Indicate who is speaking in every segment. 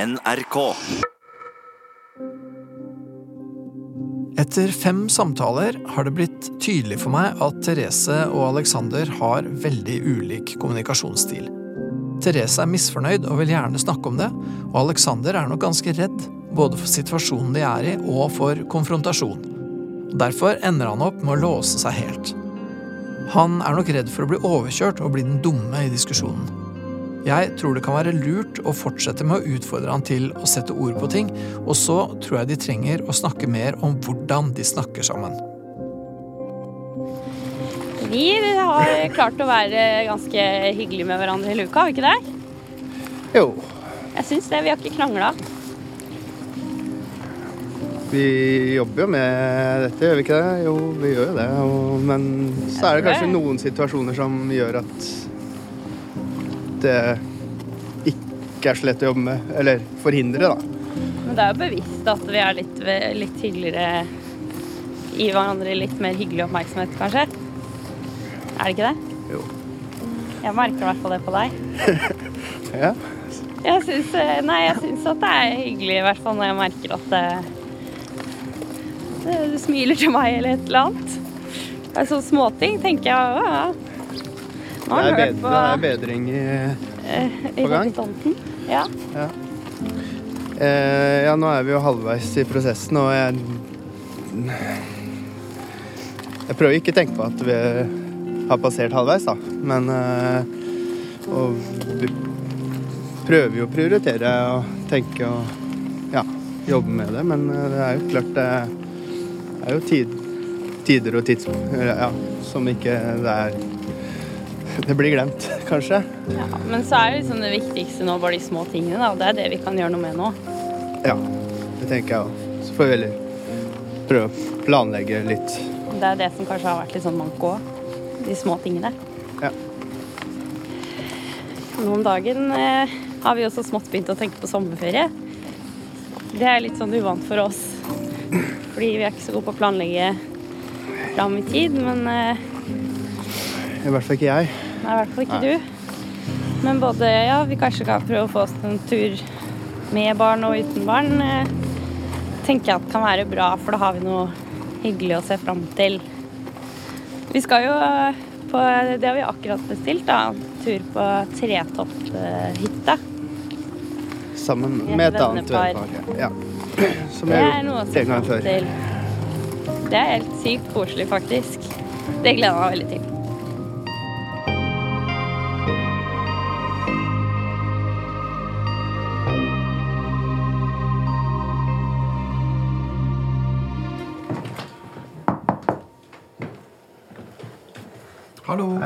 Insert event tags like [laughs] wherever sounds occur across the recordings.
Speaker 1: NRK.
Speaker 2: Etter fem samtaler har det blitt tydelig for meg at Therese og Alexander har veldig ulik kommunikasjonsstil. Therese er misfornøyd og vil gjerne snakke om det, og Alexander er nok ganske redd, både for situasjonen de er i og for konfrontasjon. Derfor ender han opp med å låse seg helt. Han er nok redd for å bli overkjørt og bli den dumme i diskusjonen. Jeg tror det kan være lurt å fortsette med å utfordre han til å sette ord på ting, og så tror jeg de trenger å snakke mer om hvordan de snakker sammen.
Speaker 3: Vi har klart å være ganske hyggelige med hverandre hele uka, har vi ikke det?
Speaker 4: Jo,
Speaker 3: Jeg syns det. Vi har ikke krangla.
Speaker 4: vi jobber jo med dette, gjør vi ikke det? Jo, vi gjør jo det. Og, men så er det kanskje noen situasjoner som gjør at det ikke er så lett å jobbe med. Eller forhindre, da.
Speaker 3: Men det er jo bevisst at vi er litt, litt hyggeligere Gi hverandre litt mer hyggelig oppmerksomhet, kanskje. Er det ikke det?
Speaker 4: Jo.
Speaker 3: Jeg merker i hvert fall det på deg.
Speaker 4: Ja.
Speaker 3: Jeg syns, eh, nei, jeg syns at det er hyggelig, i hvert fall når jeg merker at eh, det, du smiler til meg eller et eller annet. Det er sånne småting, tenker jeg. Å, ja. Nå
Speaker 4: Det
Speaker 3: har
Speaker 4: er,
Speaker 3: han hørt
Speaker 4: bedre,
Speaker 3: på
Speaker 4: det er bedring i
Speaker 3: eh,
Speaker 4: på gang.
Speaker 3: irritanten. Ja.
Speaker 4: ja. Eh, ja, nå er vi jo halvveis i prosessen, og jeg Jeg prøver ikke å tenke på at vi har passert halvveis, da. Men eh, Og vi prøver jo å prioritere og tenke og ja, jobbe med det, men eh, det er jo klart det er jo tid, tider og tids... Ja, som ikke det er Det blir glemt, [laughs] kanskje.
Speaker 3: ja. Men så er det liksom det viktigste nå bare de små tingene, da. Det er det vi kan gjøre noe med nå.
Speaker 4: Ja, det tenker jeg òg. Så får vi heller prøve å planlegge litt.
Speaker 3: Det er det som kanskje har vært litt sånn manko òg. De små tingene.
Speaker 4: Ja.
Speaker 3: Nå om dagen eh, har vi også smått begynt å tenke på sommerferie. Det er litt sånn uvant for oss. Fordi vi er ikke så gode på å planlegge fram i tid. Men eh,
Speaker 4: I hvert fall ikke jeg.
Speaker 3: nei, i hvert fall ikke du. Men både ja, vi kanskje kan prøve å få oss en tur med barn og uten barn. Eh, tenker jeg at kan være bra, for da har vi noe hyggelig å se fram til. Vi skal jo eh, på Det har vi akkurat bestilt, da. En tur på Tretopphytta.
Speaker 4: Sammen
Speaker 3: Jeg er
Speaker 4: med et
Speaker 3: vennepar.
Speaker 4: annet vennepar. Ja. Som
Speaker 3: Det
Speaker 4: jeg
Speaker 3: er
Speaker 4: har
Speaker 3: noe å
Speaker 4: gjort
Speaker 3: se
Speaker 4: en gang
Speaker 3: fram
Speaker 4: før.
Speaker 3: til. Det er helt sykt koselig, faktisk. Det gleder jeg meg veldig til.
Speaker 2: Hallo.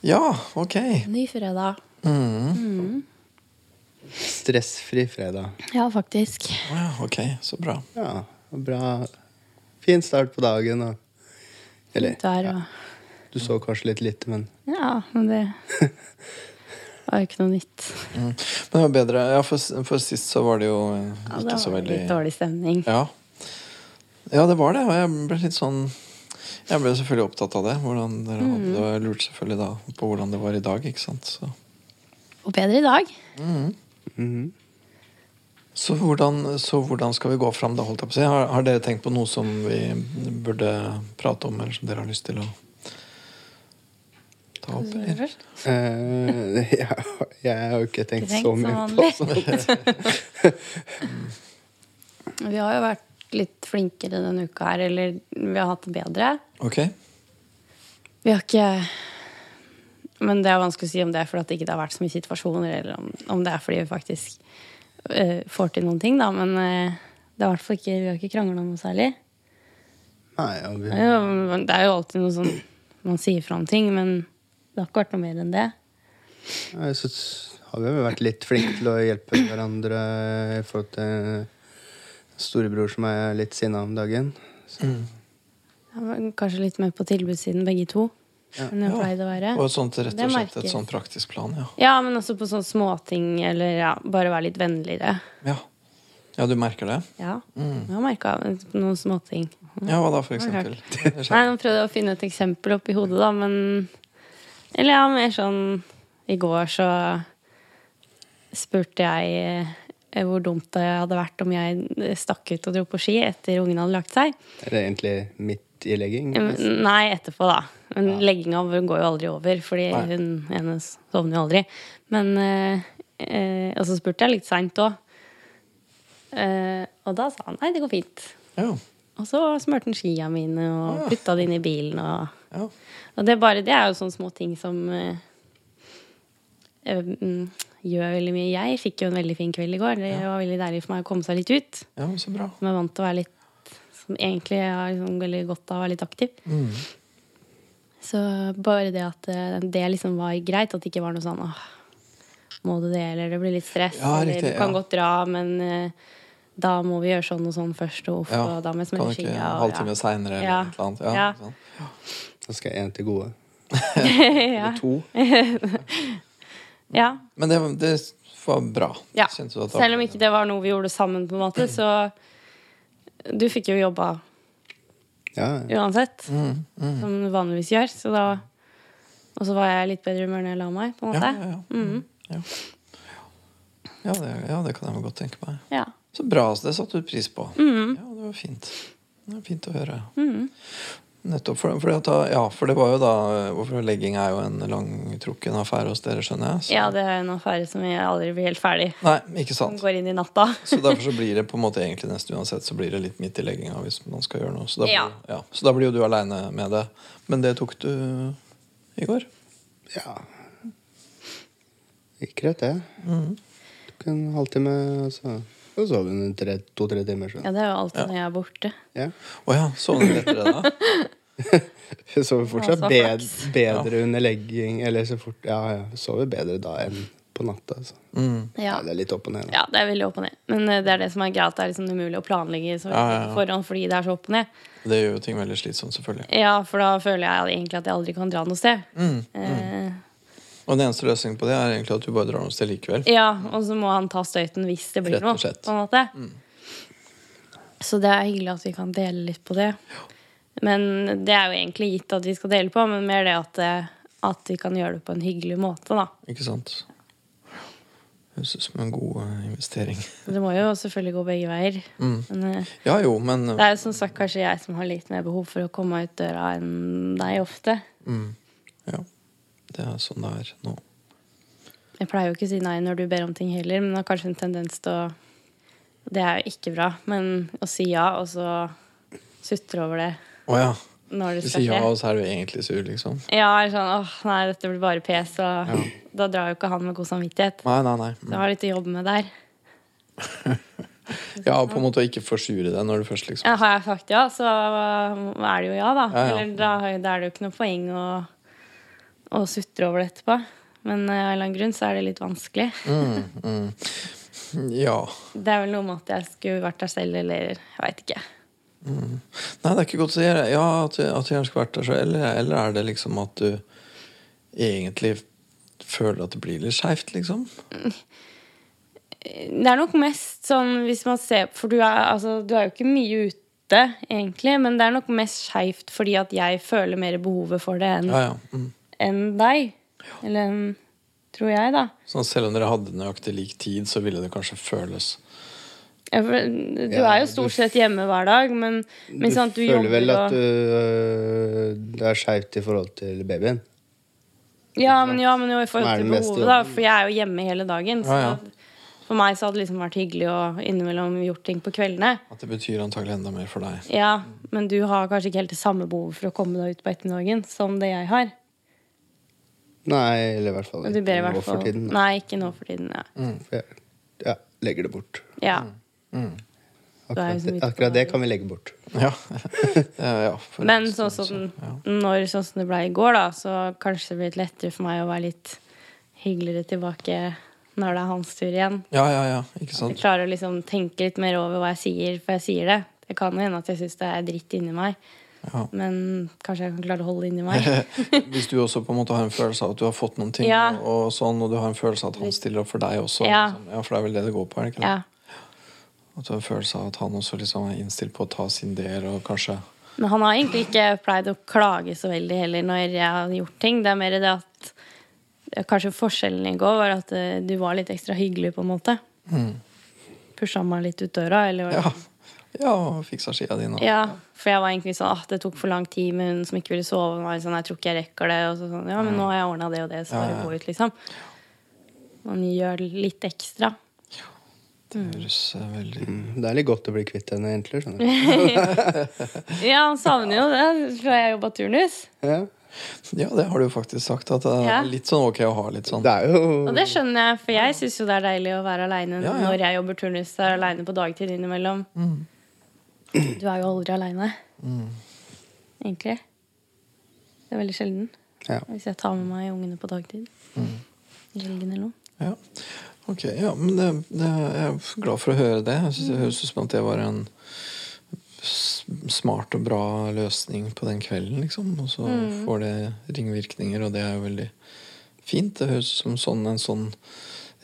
Speaker 2: Ja, ok.
Speaker 5: Ny fredag.
Speaker 4: Stressfri fredag.
Speaker 5: Ja, faktisk.
Speaker 2: Å ja, ok, så bra.
Speaker 4: Ja, og bra. Fin start på dagen. Og, eller
Speaker 5: Fint vær
Speaker 4: ja,
Speaker 5: og
Speaker 4: du så kanskje litt lite, men
Speaker 5: Ja, men [laughs] det var jo ikke noe nytt.
Speaker 2: Mm. Men det var bedre. Ja, for, for sist så var det jo eh,
Speaker 5: Ja,
Speaker 2: ikke
Speaker 5: det
Speaker 2: så
Speaker 5: var
Speaker 2: veldig
Speaker 5: litt dårlig stemning.
Speaker 2: Ja. ja, det var det. Og jeg ble litt sånn Jeg ble selvfølgelig opptatt av det. Hvordan
Speaker 5: Mm.
Speaker 2: dere hadde det, og jeg lurte selvfølgelig da på hvordan det var i dag. ikke sant? Så,
Speaker 5: Og bedre i dag.
Speaker 4: Mhm.
Speaker 2: så, hvordan, så hvordan skal vi gå fram? Da, holdt jeg på å si. Har, har dere tenkt på noe som vi burde prate om, eller som dere har lyst til å ta opp? Eller?
Speaker 4: eh, [laughs] jeg, har- jeg har jo ikke tenkt
Speaker 5: Ikke tenkt
Speaker 4: så
Speaker 5: som
Speaker 4: mye på
Speaker 5: vanlig.
Speaker 4: sånt.
Speaker 5: [laughs] Vi har jo vært litt flinkere denne uka her, eller vi har hatt det bedre.
Speaker 2: Ok?
Speaker 5: Vi har ikke Men det er vanskelig å si om det er fordi at det ikke har vært så mye situasjoner, eller om, om det er fordi vi faktisk eh, får til noen ting, da. Men eh, det er i hvert fall ikke Vi har ikke krangla noe særlig.
Speaker 4: Nei, ja, vi,
Speaker 5: Det er jo- det er jo alltid noe sånn Man sier fra om ting, men det har ikke vært noe mer enn det.
Speaker 4: Nei, så har vi jo vært litt flinke til å hjelpe hverandre i forhold til storebror som er litt sinna om dagen. Så,
Speaker 5: Ja, men Kanskje litt mer på tilbudssiden, begge to. Enn jeg pleide å være.
Speaker 2: Og et sånt, rett
Speaker 5: Det
Speaker 2: og slett et
Speaker 5: merkes.
Speaker 2: sånn praktisk plan, ja.
Speaker 5: Ja, men også på sånne småting, eller ja, bare være litt vennligere.
Speaker 2: Ja, ja du merker det?
Speaker 5: Ja. Jeg har merka noen småting.
Speaker 2: Ja, hva da, for eksempel?
Speaker 5: Nei, nå prøvde jeg å finne et eksempel oppi hodet, da, men Eller ja, mer sånn I går så spurte jeg eh, hvor dumt det hadde vært om jeg stakk ut og dro på ski etter ungene hadde lagt seg.
Speaker 4: Er det egentlig midt i legging?
Speaker 5: Mm, Nei, etterpå, da. Men legginga over- går jo aldri over, fordi hun ene sovner jo aldri. Men eh, eh, Og så spurte jeg litt seint òg. Eh, og da sa han nei, det går fint.
Speaker 2: Ja.
Speaker 5: Og så smurte han skia mine og putta det inn i bilen. Og,
Speaker 2: ja.
Speaker 5: og det, er bare, det er jo sånne små ting som eh, eh, mm, gjør veldig mye. Jeg fikk jo en veldig fin kveld i går. Det var veldig deilig for meg å komme seg litt ut.
Speaker 2: Ja, men så bra.
Speaker 5: Som er vant til å være litt Som egentlig har liksom veldig godt av å være litt aktiv.
Speaker 2: Mm.
Speaker 5: Så bare det at eh, det liksom var greit, at det ikke var noe sånn åh, må du det, eller det blir litt stress,
Speaker 2: Ja,
Speaker 5: eller
Speaker 2: riktig,
Speaker 5: du
Speaker 2: ja.
Speaker 5: kan godt dra, men eh, da må vi gjøre sånn og sånn først, og uff, og da må
Speaker 2: kan
Speaker 5: jeg smelle
Speaker 2: ikke
Speaker 5: skia.
Speaker 2: en
Speaker 5: og-
Speaker 2: halvtime seinere eller
Speaker 5: Ja.
Speaker 2: et eller annet. Ja,
Speaker 5: Ja.
Speaker 2: sånn.
Speaker 4: Da skal jeg én til gode.
Speaker 5: [laughs] Ja.
Speaker 4: Eller to.
Speaker 5: Ja.
Speaker 2: Men det, det var bra.
Speaker 5: ja.
Speaker 2: Kjente du at det-
Speaker 5: Selv om ikke det var noe vi gjorde sammen, på en måte, så Du fikk jo jobba
Speaker 4: Ja, ja.
Speaker 5: uansett,
Speaker 2: Mm.
Speaker 5: som du vanligvis gjør, så da Og så var jeg i litt bedre humør når jeg la meg, på en måte.
Speaker 2: Ja, ja, ja.
Speaker 5: Mm.
Speaker 2: ja. Ja, det, ja, det kan jeg vel godt tenke meg.
Speaker 5: Ja.
Speaker 2: Så bra. altså, Det satte du pris på.
Speaker 5: Mm.
Speaker 2: Ja, det var fint. Det var fint å høre. Nettopp. For, for, at da, ja, for det var jo da Hvorfor legging er jo en langtrukken affære hos dere, skjønner jeg. Så,
Speaker 5: Ja, det er en affære som jeg aldri blir helt ferdig.
Speaker 2: Nei, ikke
Speaker 5: Som
Speaker 2: sant.
Speaker 5: går inn i natta.
Speaker 2: [laughs] Så derfor så blir det på en måte egentlig nesten uansett så blir det litt midt i legginga hvis man skal gjøre noe. Så da blir,
Speaker 5: Ja.
Speaker 2: ja. så da blir jo du aleine med det. Men det tok du i går.
Speaker 4: ja. Gikk greit, det. Mm. Tok en halvtime, og så så sov hun en tre- to-tre timer. Så.
Speaker 5: Ja, det er jo alltid når jeg er borte.
Speaker 4: Ja.
Speaker 2: Å ja, sovnet du etter
Speaker 5: [laughs]
Speaker 2: det, da?
Speaker 4: Hun sover fortsatt
Speaker 5: Altså,
Speaker 4: bed,
Speaker 5: flaks.
Speaker 4: bedre under legging. Eller så fort Ja, ja. hun Sover bedre da enn på natta. Så.
Speaker 5: Ja.
Speaker 2: Mm.
Speaker 4: Ja, det er litt opp og ned. da.
Speaker 5: ja, det er veldig opp og ned. Men eh, det er det som er greit. Det er liksom umulig å planlegge
Speaker 2: Ja,
Speaker 5: så
Speaker 2: ja, ja.
Speaker 5: på forhånd fordi det er så opp og ned.
Speaker 2: Det gjør jo ting veldig slitsomt, selvfølgelig.
Speaker 5: Ja, for da føler jeg egentlig at jeg aldri kan dra noe sted.
Speaker 2: Mm,
Speaker 5: Eh,
Speaker 2: Og den eneste løsningen på det er egentlig at du bare drar noe sted likevel.
Speaker 5: ja, og så må han ta støyten hvis det blir
Speaker 2: Rett og
Speaker 5: noe.
Speaker 2: slett. Mm.
Speaker 5: På en måte. Så det er hyggelig at vi kan dele litt på det. Men det er jo egentlig gitt at vi skal dele på, men mer det at, eh, at vi kan gjøre det på en hyggelig måte, da.
Speaker 2: Ikke sant? Høres ut som en god eh, investering. [laughs]
Speaker 5: Det må jo selvfølgelig gå begge veier.
Speaker 2: Mm.
Speaker 5: Men eh,
Speaker 2: Ja jo, men
Speaker 5: det er jo som sagt kanskje jeg som har litt mer behov for å komme meg ut døra enn deg ofte.
Speaker 2: Ja. Det er sånn det er nå.
Speaker 5: Jeg pleier jo ikke å si nei når du ber om ting heller, men har kanskje en tendens til å Det er jo ikke bra, men å si ja, og så sutre over det
Speaker 2: Å ja.
Speaker 5: når det
Speaker 2: Du
Speaker 5: skal
Speaker 2: sier ja,
Speaker 5: skje.
Speaker 2: og så er du egentlig sur, liksom.
Speaker 5: Ja, jeg er sånn åh, nei, dette blir bare pes, og da drar jo ikke han med god samvittighet.
Speaker 2: Nei, nei, nei.
Speaker 5: Så jeg har litt å jobbe med der.
Speaker 2: Ja, på en måte å ikke forsure det når du først liksom
Speaker 5: Ja, har jeg sagt ja, så er det jo ja, da.
Speaker 2: Ja, ja.
Speaker 5: Eller da, har jeg- da er det jo ikke noe poeng å, å sutre over det etterpå. Men eh, av en eller annen grunn så er det litt vanskelig.
Speaker 4: Mm.
Speaker 2: Mm, Ja.
Speaker 5: Det er vel noe med at jeg skulle vært der selv, eller jeg veit ikke.
Speaker 2: Nei, det er ikke godt å si. Ja, at du, at du gjerne skulle vært der selv. Eller, eller er det liksom at du egentlig føler at det blir litt skeivt, liksom?
Speaker 5: Det er nok mest sånn hvis man ser For du er, altså, du er jo ikke mye ute, egentlig, men det er nok mest skeivt fordi at jeg føler mer behovet for det enn
Speaker 2: Ja, ja. Mm.
Speaker 5: enn deg. Eller enn- tror jeg, da.
Speaker 2: Sånn, selv om dere hadde nøyaktig lik tid, så ville det kanskje føles
Speaker 5: Ja, for Du
Speaker 4: Ja,
Speaker 5: er jo
Speaker 4: du
Speaker 5: stort sett hjemme hver dag, men, men
Speaker 4: Du
Speaker 5: sånn at du
Speaker 4: føler vel
Speaker 5: jobber
Speaker 4: at
Speaker 5: og-
Speaker 4: du, øh, det er skeivt i forhold til babyen?
Speaker 5: Ja, men, ja, men jo, i
Speaker 4: Hva
Speaker 5: forhold
Speaker 4: er
Speaker 5: til
Speaker 4: den beste
Speaker 5: behovet, da.
Speaker 4: jobben?
Speaker 5: For jeg er jo hjemme hele dagen. Så
Speaker 2: Ja, ja.
Speaker 5: at for meg så hadde det liksom vært hyggelig å innimellom gjort ting på kveldene.
Speaker 2: At det betyr antagelig enda mer for deg.
Speaker 5: Ja, men du har kanskje ikke helt det samme behovet for å komme deg ut på ettermiddagen som det jeg har.
Speaker 4: Nei, eller i hvert fall
Speaker 5: Men du ber i hvert fall
Speaker 4: for tiden. da. Mm.
Speaker 5: Nei, ikke nå for tiden. Ja.
Speaker 4: For jeg ja, legger det bort.
Speaker 5: ja. Du er jo så mye
Speaker 4: Akkurat, det-
Speaker 5: på
Speaker 4: akkurat det
Speaker 5: dagen.
Speaker 4: kan vi legge bort.
Speaker 2: Ja. [laughs] Eh, ja for-
Speaker 5: Men sånn som, når, sånn som det ble i går, da, så kanskje det blir litt lettere for meg å være litt hyggeligere tilbake når det er hans tur igjen.
Speaker 2: Ja, ja, ja. Ikke
Speaker 5: Jeg [laughs]
Speaker 2: sant?
Speaker 5: klarer å liksom tenke litt mer over hva jeg sier, for jeg sier det. Det kan jo hende at jeg syns det er dritt inni meg,
Speaker 2: Ja.
Speaker 5: men kanskje jeg kan klare å holde det inni
Speaker 2: [laughs]
Speaker 5: meg.
Speaker 2: Hvis du også på en måte har en følelse av at du har fått noen ting,
Speaker 5: Ja.
Speaker 2: og, sånn, og du har en følelse av at han stiller opp for deg også
Speaker 5: Ja.
Speaker 2: Liksom. ja For det er vel det det går på? Er det ikke det?
Speaker 5: Ja.
Speaker 2: At du har en følelse av at han også liksom er innstilt på å ta sin del, og kanskje
Speaker 5: Men han har egentlig ikke pleid å klage så veldig heller når jeg har gjort ting. Det er mer det at Kanskje forskjellen i går var at eh, du var litt ekstra hyggelig, på en måte. Pusha meg litt ut døra, eller hva det
Speaker 2: Mm. Ja, ja og fiksa skia di nå.
Speaker 5: ja, for jeg var egentlig sånn at det tok for lang tid med hun som ikke ville sove. Og var sånn, jeg tror ikke jeg rekker det. Og så sånn, ja, men nå har jeg ordna det og det, så bare gå ut, liksom. Man gjør litt ekstra.
Speaker 2: Det høres eh, veldig
Speaker 4: Mm, Det er litt godt å bli kvitt henne, egentlig.
Speaker 5: [laughs]
Speaker 4: skjønner du.
Speaker 5: Ja, han savner jo det fra jeg jobba turnus.
Speaker 4: Ja.
Speaker 2: Ja, det har du jo faktisk sagt. At det
Speaker 5: Ja.
Speaker 2: er litt sånn ok å ha litt sånn
Speaker 4: Det er jo
Speaker 5: Og det skjønner jeg, for jeg syns jo det er deilig å være aleine
Speaker 2: Ja, ja.
Speaker 5: når jeg jobber turnus. Jeg er aleine på dagtid innimellom. Du er jo aldri aleine. Egentlig. Det er veldig sjelden.
Speaker 4: Ja.
Speaker 5: Hvis jeg tar med meg ungene på dagtid. I helgen eller noe.
Speaker 2: Ja. Ok, ja, men det, det, jeg er glad for å høre det. Jeg synes Det høres ut som at det var en s- smart og bra løsning på den kvelden, liksom. Og så får det ringvirkninger, og det er jo veldig fint. Det høres ut som sånn, en sånn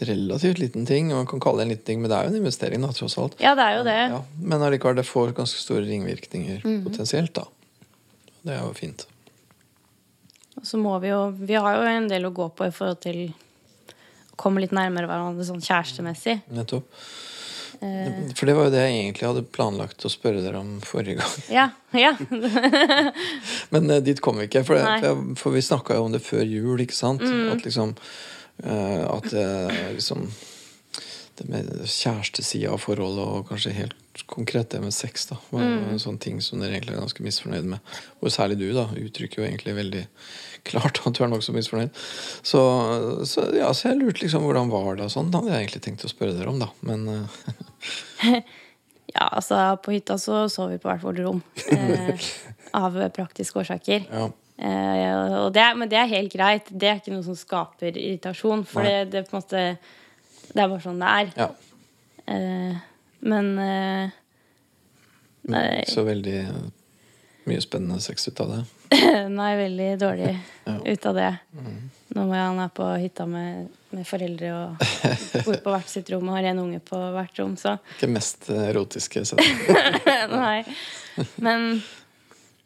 Speaker 2: relativt liten ting. og Man kan kalle det en liten ting, men det er jo en investering, da, tross alt.
Speaker 5: Ja, det er jo det.
Speaker 2: Ja, men allikevel, det får ganske store ringvirkninger potensielt, da. Det er jo fint.
Speaker 5: Og så må vi jo Vi har jo en del å gå på i forhold til å komme litt nærmere hverandre sånn kjærestemessig. Eh,
Speaker 2: Nettopp. For det var jo det jeg egentlig hadde planlagt å spørre dere om forrige gang.
Speaker 5: Ja. ja. [laughs]
Speaker 2: Men eh, dit kom vi ikke, for, det,
Speaker 5: Nei.
Speaker 2: for, jeg, for vi snakka jo om det før jul, ikke sant? At liksom eh, At eh, liksom Det med kjærestesida av forholdet, og kanskje helt konkret det med sex, da, var jo en sånn ting som dere egentlig er ganske misfornøyd med. Og særlig du, da, uttrykker jo egentlig veldig [laughs] klart at du er nokså misfornøyd. Så, så, ja, så jeg lurte liksom hvordan var det og sånn. Det hadde jeg egentlig tenkt å spørre dere om, da. Men eh,
Speaker 5: ja, altså, på hytta så sov vi på hvert vårt rom. Eh, av praktiske årsaker.
Speaker 2: ja.
Speaker 5: Eh, og det, er- men det er helt greit. Det er ikke noe som skaper irritasjon. For
Speaker 2: Nei.
Speaker 5: det, det, er på en måte, det er bare sånn det er.
Speaker 2: ja.
Speaker 5: Eh, men eh,
Speaker 2: Men ikke så veldig mye spennende sex ut av det.
Speaker 5: nei, veldig
Speaker 2: [laughs]
Speaker 5: dårlig ut av det.
Speaker 2: Mm.
Speaker 5: Nå må jeg, han er på hytta med, med foreldre og
Speaker 2: [laughs]
Speaker 5: bor på hvert sitt rom og har en unge på hvert rom, så
Speaker 2: Ikke mest eh, erotiske settet.
Speaker 5: [laughs] nei. Men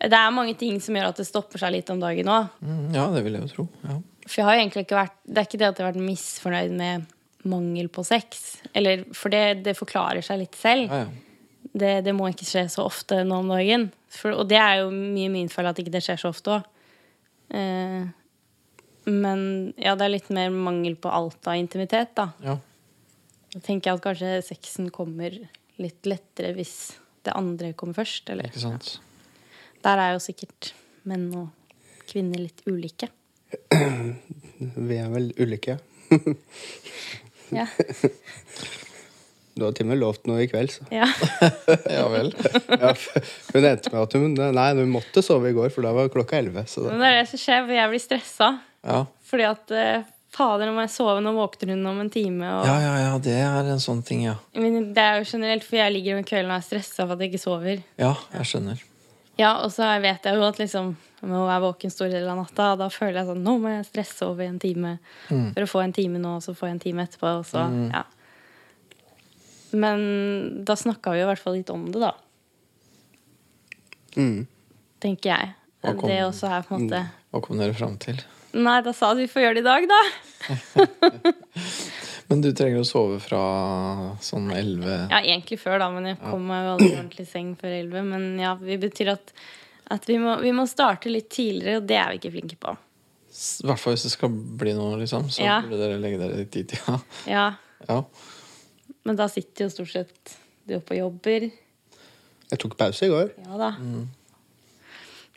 Speaker 5: det er mange ting som gjør at det stopper seg litt om dagen òg.
Speaker 2: Mm, Ja, det vil jeg jo tro. Ja.
Speaker 5: For jeg har jo egentlig ikke vært Det er ikke det at jeg har vært misfornøyd med mangel på sex. Eller, for det, det forklarer seg litt selv.
Speaker 2: Ja, ja.
Speaker 5: Det, det må ikke skje så ofte nå om dagen. For, og det er jo mye min feil at ikke det skjer så ofte òg. Eh, men ja, det er litt mer mangel på alt av intimitet, da.
Speaker 2: Ja.
Speaker 5: Da tenker jeg at kanskje sexen kommer litt lettere hvis det andre kommer først. Eller?
Speaker 2: Ikke sant?
Speaker 5: Der er jo sikkert menn og kvinner litt ulike.
Speaker 4: Vi er vel ulike.
Speaker 5: Ja.
Speaker 4: Du har til og med lovt noe i kveld, så. [laughs]
Speaker 5: ja.
Speaker 2: Ja vel.
Speaker 4: [laughs] Ja, for hun endte med at hun Nei, hun måtte sove i går, for da var klokka elleve. Så da.
Speaker 5: Men det er det som skjer, for jeg blir stressa.
Speaker 2: Ja.
Speaker 5: Fordi at eh, fader, nå må jeg sove, nå våkner hun om en time. Og,
Speaker 2: ja, ja, ja. Det er en sånn ting, ja.
Speaker 5: Men det er jo generelt, for jeg ligger om kvelden og er stressa for at jeg ikke sover.
Speaker 2: Ja, jeg skjønner.
Speaker 5: Ja, Og så vet jeg jo at liksom, jeg må være våken store deler av natta, og da føler jeg sånn Nå må jeg stresse over i en time for å få en time nå, og så få en time etterpå. Og så, ja. Men da snakka vi jo i hvert fall litt om det, da. Tenker jeg.
Speaker 2: Mm. Hva kom- Mm.
Speaker 5: Det også er på en måte
Speaker 2: Hva kom dere fram til?
Speaker 5: Nei, da sa du vi får gjøre det i dag, da.
Speaker 2: Men du trenger å sove fra sånn 11
Speaker 5: Ja, egentlig før, da, men jeg kom meg jo aldri ordentlig i seng før elleve. Men ja, det betyr at, at vi, må, vi må starte litt tidligere, og det er vi ikke flinke på.
Speaker 2: S- I hvert fall hvis det skal bli noe, liksom. Så
Speaker 5: Ja.
Speaker 2: burde dere legge dere dit dit, ja.
Speaker 5: Ja,
Speaker 2: ja.
Speaker 5: Men da sitter jo stort sett du oppe og jobber.
Speaker 4: Jeg tok pause i går.
Speaker 5: Ja da.
Speaker 4: Mm.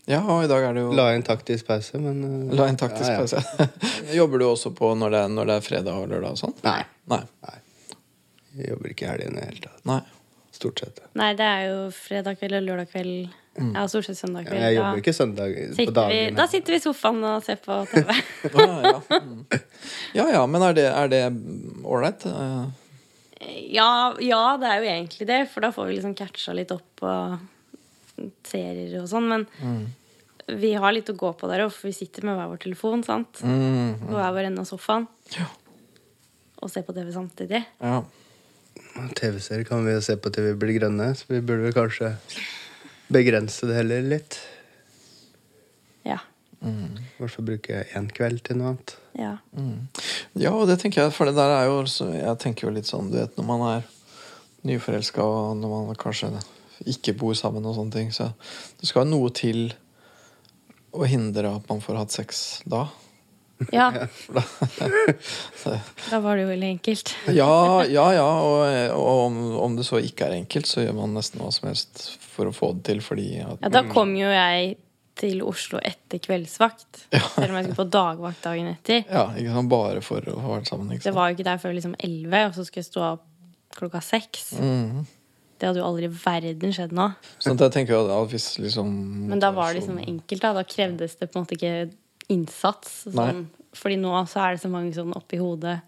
Speaker 2: Ja, og i dag er det jo
Speaker 4: La inn taktisk pause, men eh,
Speaker 2: La en taktisk
Speaker 4: ja, ja.
Speaker 2: pause. [laughs] Jobber du også på når det, er- når det er fredag og lørdag og sånn?
Speaker 4: Nei.
Speaker 2: Nei.
Speaker 4: Jeg jobber ikke i helgene i det hele tatt.
Speaker 2: Nei.
Speaker 4: Stort sett.
Speaker 5: Nei, det er jo fredag kveld og lørdag kveld. Ja, stort sett søndag
Speaker 4: Mm. Ja,
Speaker 5: kveld. Da
Speaker 4: Jeg jobber ikke søndag på
Speaker 5: sitter vi, da
Speaker 4: dagene.
Speaker 5: sitter vi i sofaen og ser på TV. [laughs]
Speaker 2: Ah, ja. Mm. ja ja, men er det er det ålreit? Eh,
Speaker 5: ja, ja, det er jo egentlig det, for da får vi liksom catcha litt opp på serier og sånn. Men
Speaker 4: Mm.
Speaker 5: vi har litt å gå på der òg, for vi sitter med hver vår telefon. sant?
Speaker 2: Mm,
Speaker 5: på hver vår ende av sofaen
Speaker 2: ja.
Speaker 5: og se på TV samtidig.
Speaker 2: ja.
Speaker 4: TV-serier kan vi jo se på til vi blir grønne, så vi burde vel kanskje begrense det heller litt.
Speaker 5: Ja.
Speaker 4: I hvert fall bruke én kveld til noe annet.
Speaker 5: ja.
Speaker 4: Mm.
Speaker 2: Ja, og det tenker jeg, for det der er jo også- Jeg tenker jo litt sånn, du vet, når man er nyforelska, og når man kanskje ikke bor sammen og sånne ting, så det skal jo noe til å hindre at man får hatt sex da. [laughs]
Speaker 5: Ja,
Speaker 4: [laughs]
Speaker 2: For da så-
Speaker 5: da var det jo veldig enkelt.
Speaker 2: ja, ja, ja. Og, og om, om det så ikke er enkelt, så gjør man nesten hva som helst for å få det til, fordi at
Speaker 5: Ja, da kom jo jeg til Oslo etter kveldsvakt. Selv om jeg skulle på dagvakt dagen etter.
Speaker 2: Ja, ikke sant? Bare for å få vært sammen. Ikke
Speaker 5: Det
Speaker 2: sant?
Speaker 5: var jo ikke der før liksom elleve, og så skulle jeg stå opp klokka seks.
Speaker 2: Mhm.
Speaker 5: Det hadde jo aldri i verden skjedd nå.
Speaker 2: Så jeg tenker jo Sånn at hvis liksom
Speaker 5: Men da var det liksom enkelt. Da Da krevdes det på en måte ikke innsats. Sånn.
Speaker 2: Nei.
Speaker 5: Fordi nå så er det så mange sånn oppi hodet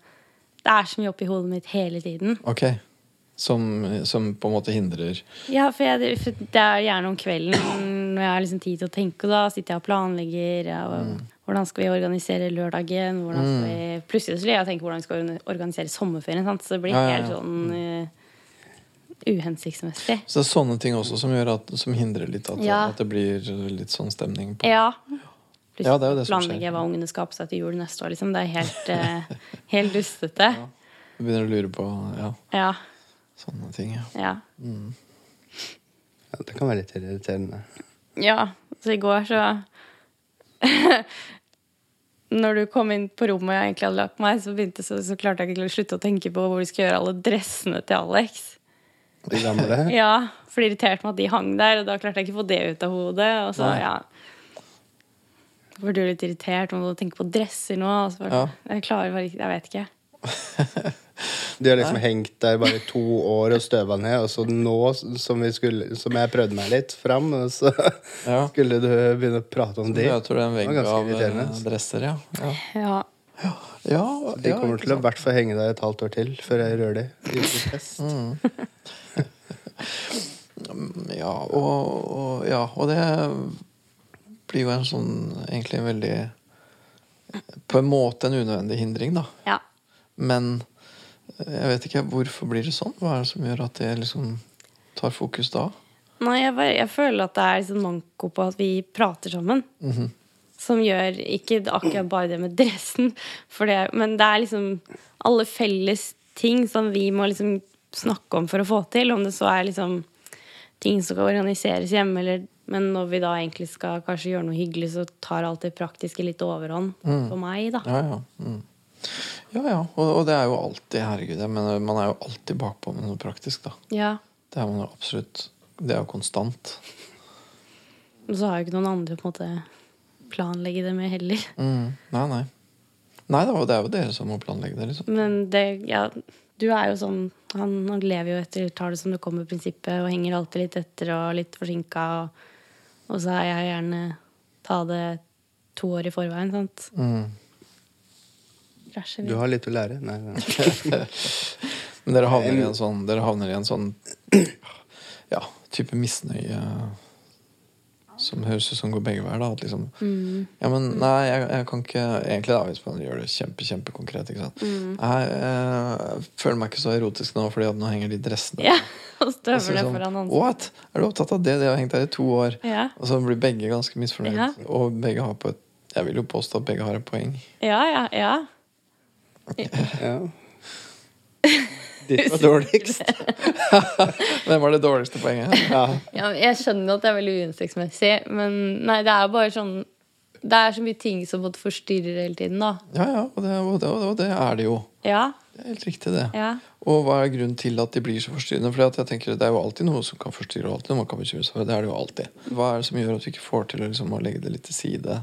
Speaker 5: Det er så mye oppi hodet mitt hele tiden.
Speaker 2: Ok. Som, som på en måte hindrer
Speaker 5: Ja, for, jeg, for Det er gjerne om kvelden når jeg har liksom tid til å tenke. og Da sitter jeg og planlegger. Ja, og,
Speaker 2: Mm.
Speaker 5: Hvordan skal vi organisere lørdagen? Hvordan skal vi, plutselig så vil jeg tenke hvordan vi skal organ- organisere sommerferien. Sant? Så det blir
Speaker 2: Ja, ja,
Speaker 5: helt
Speaker 2: ja. Mm.
Speaker 5: sånn eh, uhensiktsmessig.
Speaker 2: Så det er sånne ting også som, gjør at, som hindrer litt at,
Speaker 5: Ja.
Speaker 2: at det blir litt sånn stemning på
Speaker 5: Ja.
Speaker 2: Ja, det er jo det som skjer.
Speaker 5: Planlegge hva ungene skal ha på seg til jul neste år. Liksom. Det er
Speaker 2: [laughs]
Speaker 5: helt, eh, helt dustete.
Speaker 2: Du begynner å lure på ja,
Speaker 5: Ja.
Speaker 2: sånne ting. Ja.
Speaker 5: ja.
Speaker 4: Ja, det kan være litt irriterende.
Speaker 5: Ja, så i går så [laughs] Når du kom inn på rommet og jeg egentlig hadde lagt meg, så, begynte, så, så klarte jeg ikke å slutte å tenke på hvor vi skulle gjøre alle dressene til Alex.
Speaker 4: De gamle.
Speaker 5: [laughs] Ja, For det irriterte meg at de hang der, og da klarte jeg ikke å få det ut av hodet. Og så,
Speaker 2: Nei.
Speaker 5: ja Så ble du litt irritert om du tenker på dresser nå. Og så bare,
Speaker 2: Ja.
Speaker 5: Jeg klarer bare ikke Jeg vet ikke.
Speaker 4: De har liksom hengt der bare to år og støva ned, og så nå som, vi skulle, som jeg prøvde meg litt fram, og så
Speaker 2: Ja.
Speaker 4: skulle du begynne å prate om de.
Speaker 2: Jeg tror det er en
Speaker 4: Det
Speaker 2: vegg
Speaker 4: var ganske
Speaker 2: av eh,
Speaker 4: irriterende.
Speaker 2: dresser, ja. ja.
Speaker 5: Ja.
Speaker 2: ja
Speaker 4: De
Speaker 2: ja,
Speaker 4: kommer
Speaker 2: ikke
Speaker 4: til å i
Speaker 2: sant?
Speaker 4: hvert fall henge der et halvt år til før jeg rører de. de. blir fest.
Speaker 2: Mm. Ja, og, og, ja, og det blir jo en sånn egentlig en veldig På en måte en unødvendig hindring, da.
Speaker 5: ja.
Speaker 2: Men eh, jeg vet ikke hvorfor blir det sånn? Hva er det som gjør at det liksom tar fokus da?
Speaker 5: Nei, jeg, bare, jeg føler at det er liksom manko på at vi prater sammen. Som gjør ikke akkurat bare det med dressen, for det, men det er liksom alle felles ting som vi må liksom snakke om for å få til. Om det så er liksom ting som skal organiseres hjemme, eller Men når vi da egentlig skal kanskje gjøre noe hyggelig, så tar alt det praktiske litt overhånd for meg, da.
Speaker 2: Ja, ja. Mm. Ja, ja. Og, og det er jo alltid Herregud, jeg mener, man er jo alltid bakpå med noe praktisk, da.
Speaker 5: Ja.
Speaker 2: Det er man jo absolutt. Det er jo konstant.
Speaker 5: Og så har jo ikke noen andre på en måte planlegge det med heller.
Speaker 2: Mm. Nei, nei. Nei, det er jo- det er jo dere som må planlegge det, liksom.
Speaker 5: Men det, ja, du er jo sånn Han, han lever jo etter tar det som det kommer, prinsippet, og henger alltid litt etter og litt forsinka. Og, og så er jeg gjerne ta det to år i forveien, sant?
Speaker 2: Mm.
Speaker 5: Krasjer
Speaker 4: Du
Speaker 5: litt.
Speaker 4: har litt å lære. Nei, nei.
Speaker 2: [laughs] Men dere havner i en sånn, dere havner i en sånn ja, type misnøye som høres ut som går begge veier. da, at liksom, Ja, men nei, jeg, jeg kan ikke Egentlig da, hvis man gjør det kjempe, kjempekonkret. ikke sant? Jeg eh, føler meg ikke så erotisk nå, fordi at nå henger de dressene
Speaker 5: [laughs] Ja, og
Speaker 2: Og så
Speaker 5: støvler
Speaker 2: sånn,
Speaker 5: foran ansiktet.
Speaker 2: What? Er du opptatt av det? De har hengt der i to år.
Speaker 5: Ja.
Speaker 2: Og så blir begge ganske misfornøyd.
Speaker 5: Ja.
Speaker 2: Og begge har på et Jeg vil jo påstå at begge har et poeng.
Speaker 5: Ja, ja, ja.
Speaker 4: Ja. Ditt var dårligst.
Speaker 2: Hvem var det dårligste poenget?
Speaker 4: Ja.
Speaker 5: ja men jeg skjønner at det er veldig uhensiktsmessig, men nei, det er bare sånn Det er så mye ting som måtte forstyrre hele tiden, da.
Speaker 2: Ja, ja, og det, og det, og det, og det er det jo.
Speaker 5: Ja.
Speaker 2: Det er helt riktig, det.
Speaker 5: Ja.
Speaker 2: Og hva er grunnen til at de blir så forstyrrende? Fordi at jeg tenker Det er jo alltid noe som kan forstyrre, og alltid noe man kan bekymre seg for. Det er det jo alltid. Hva er det som gjør at vi ikke får til å liksom, å legge det litt til side?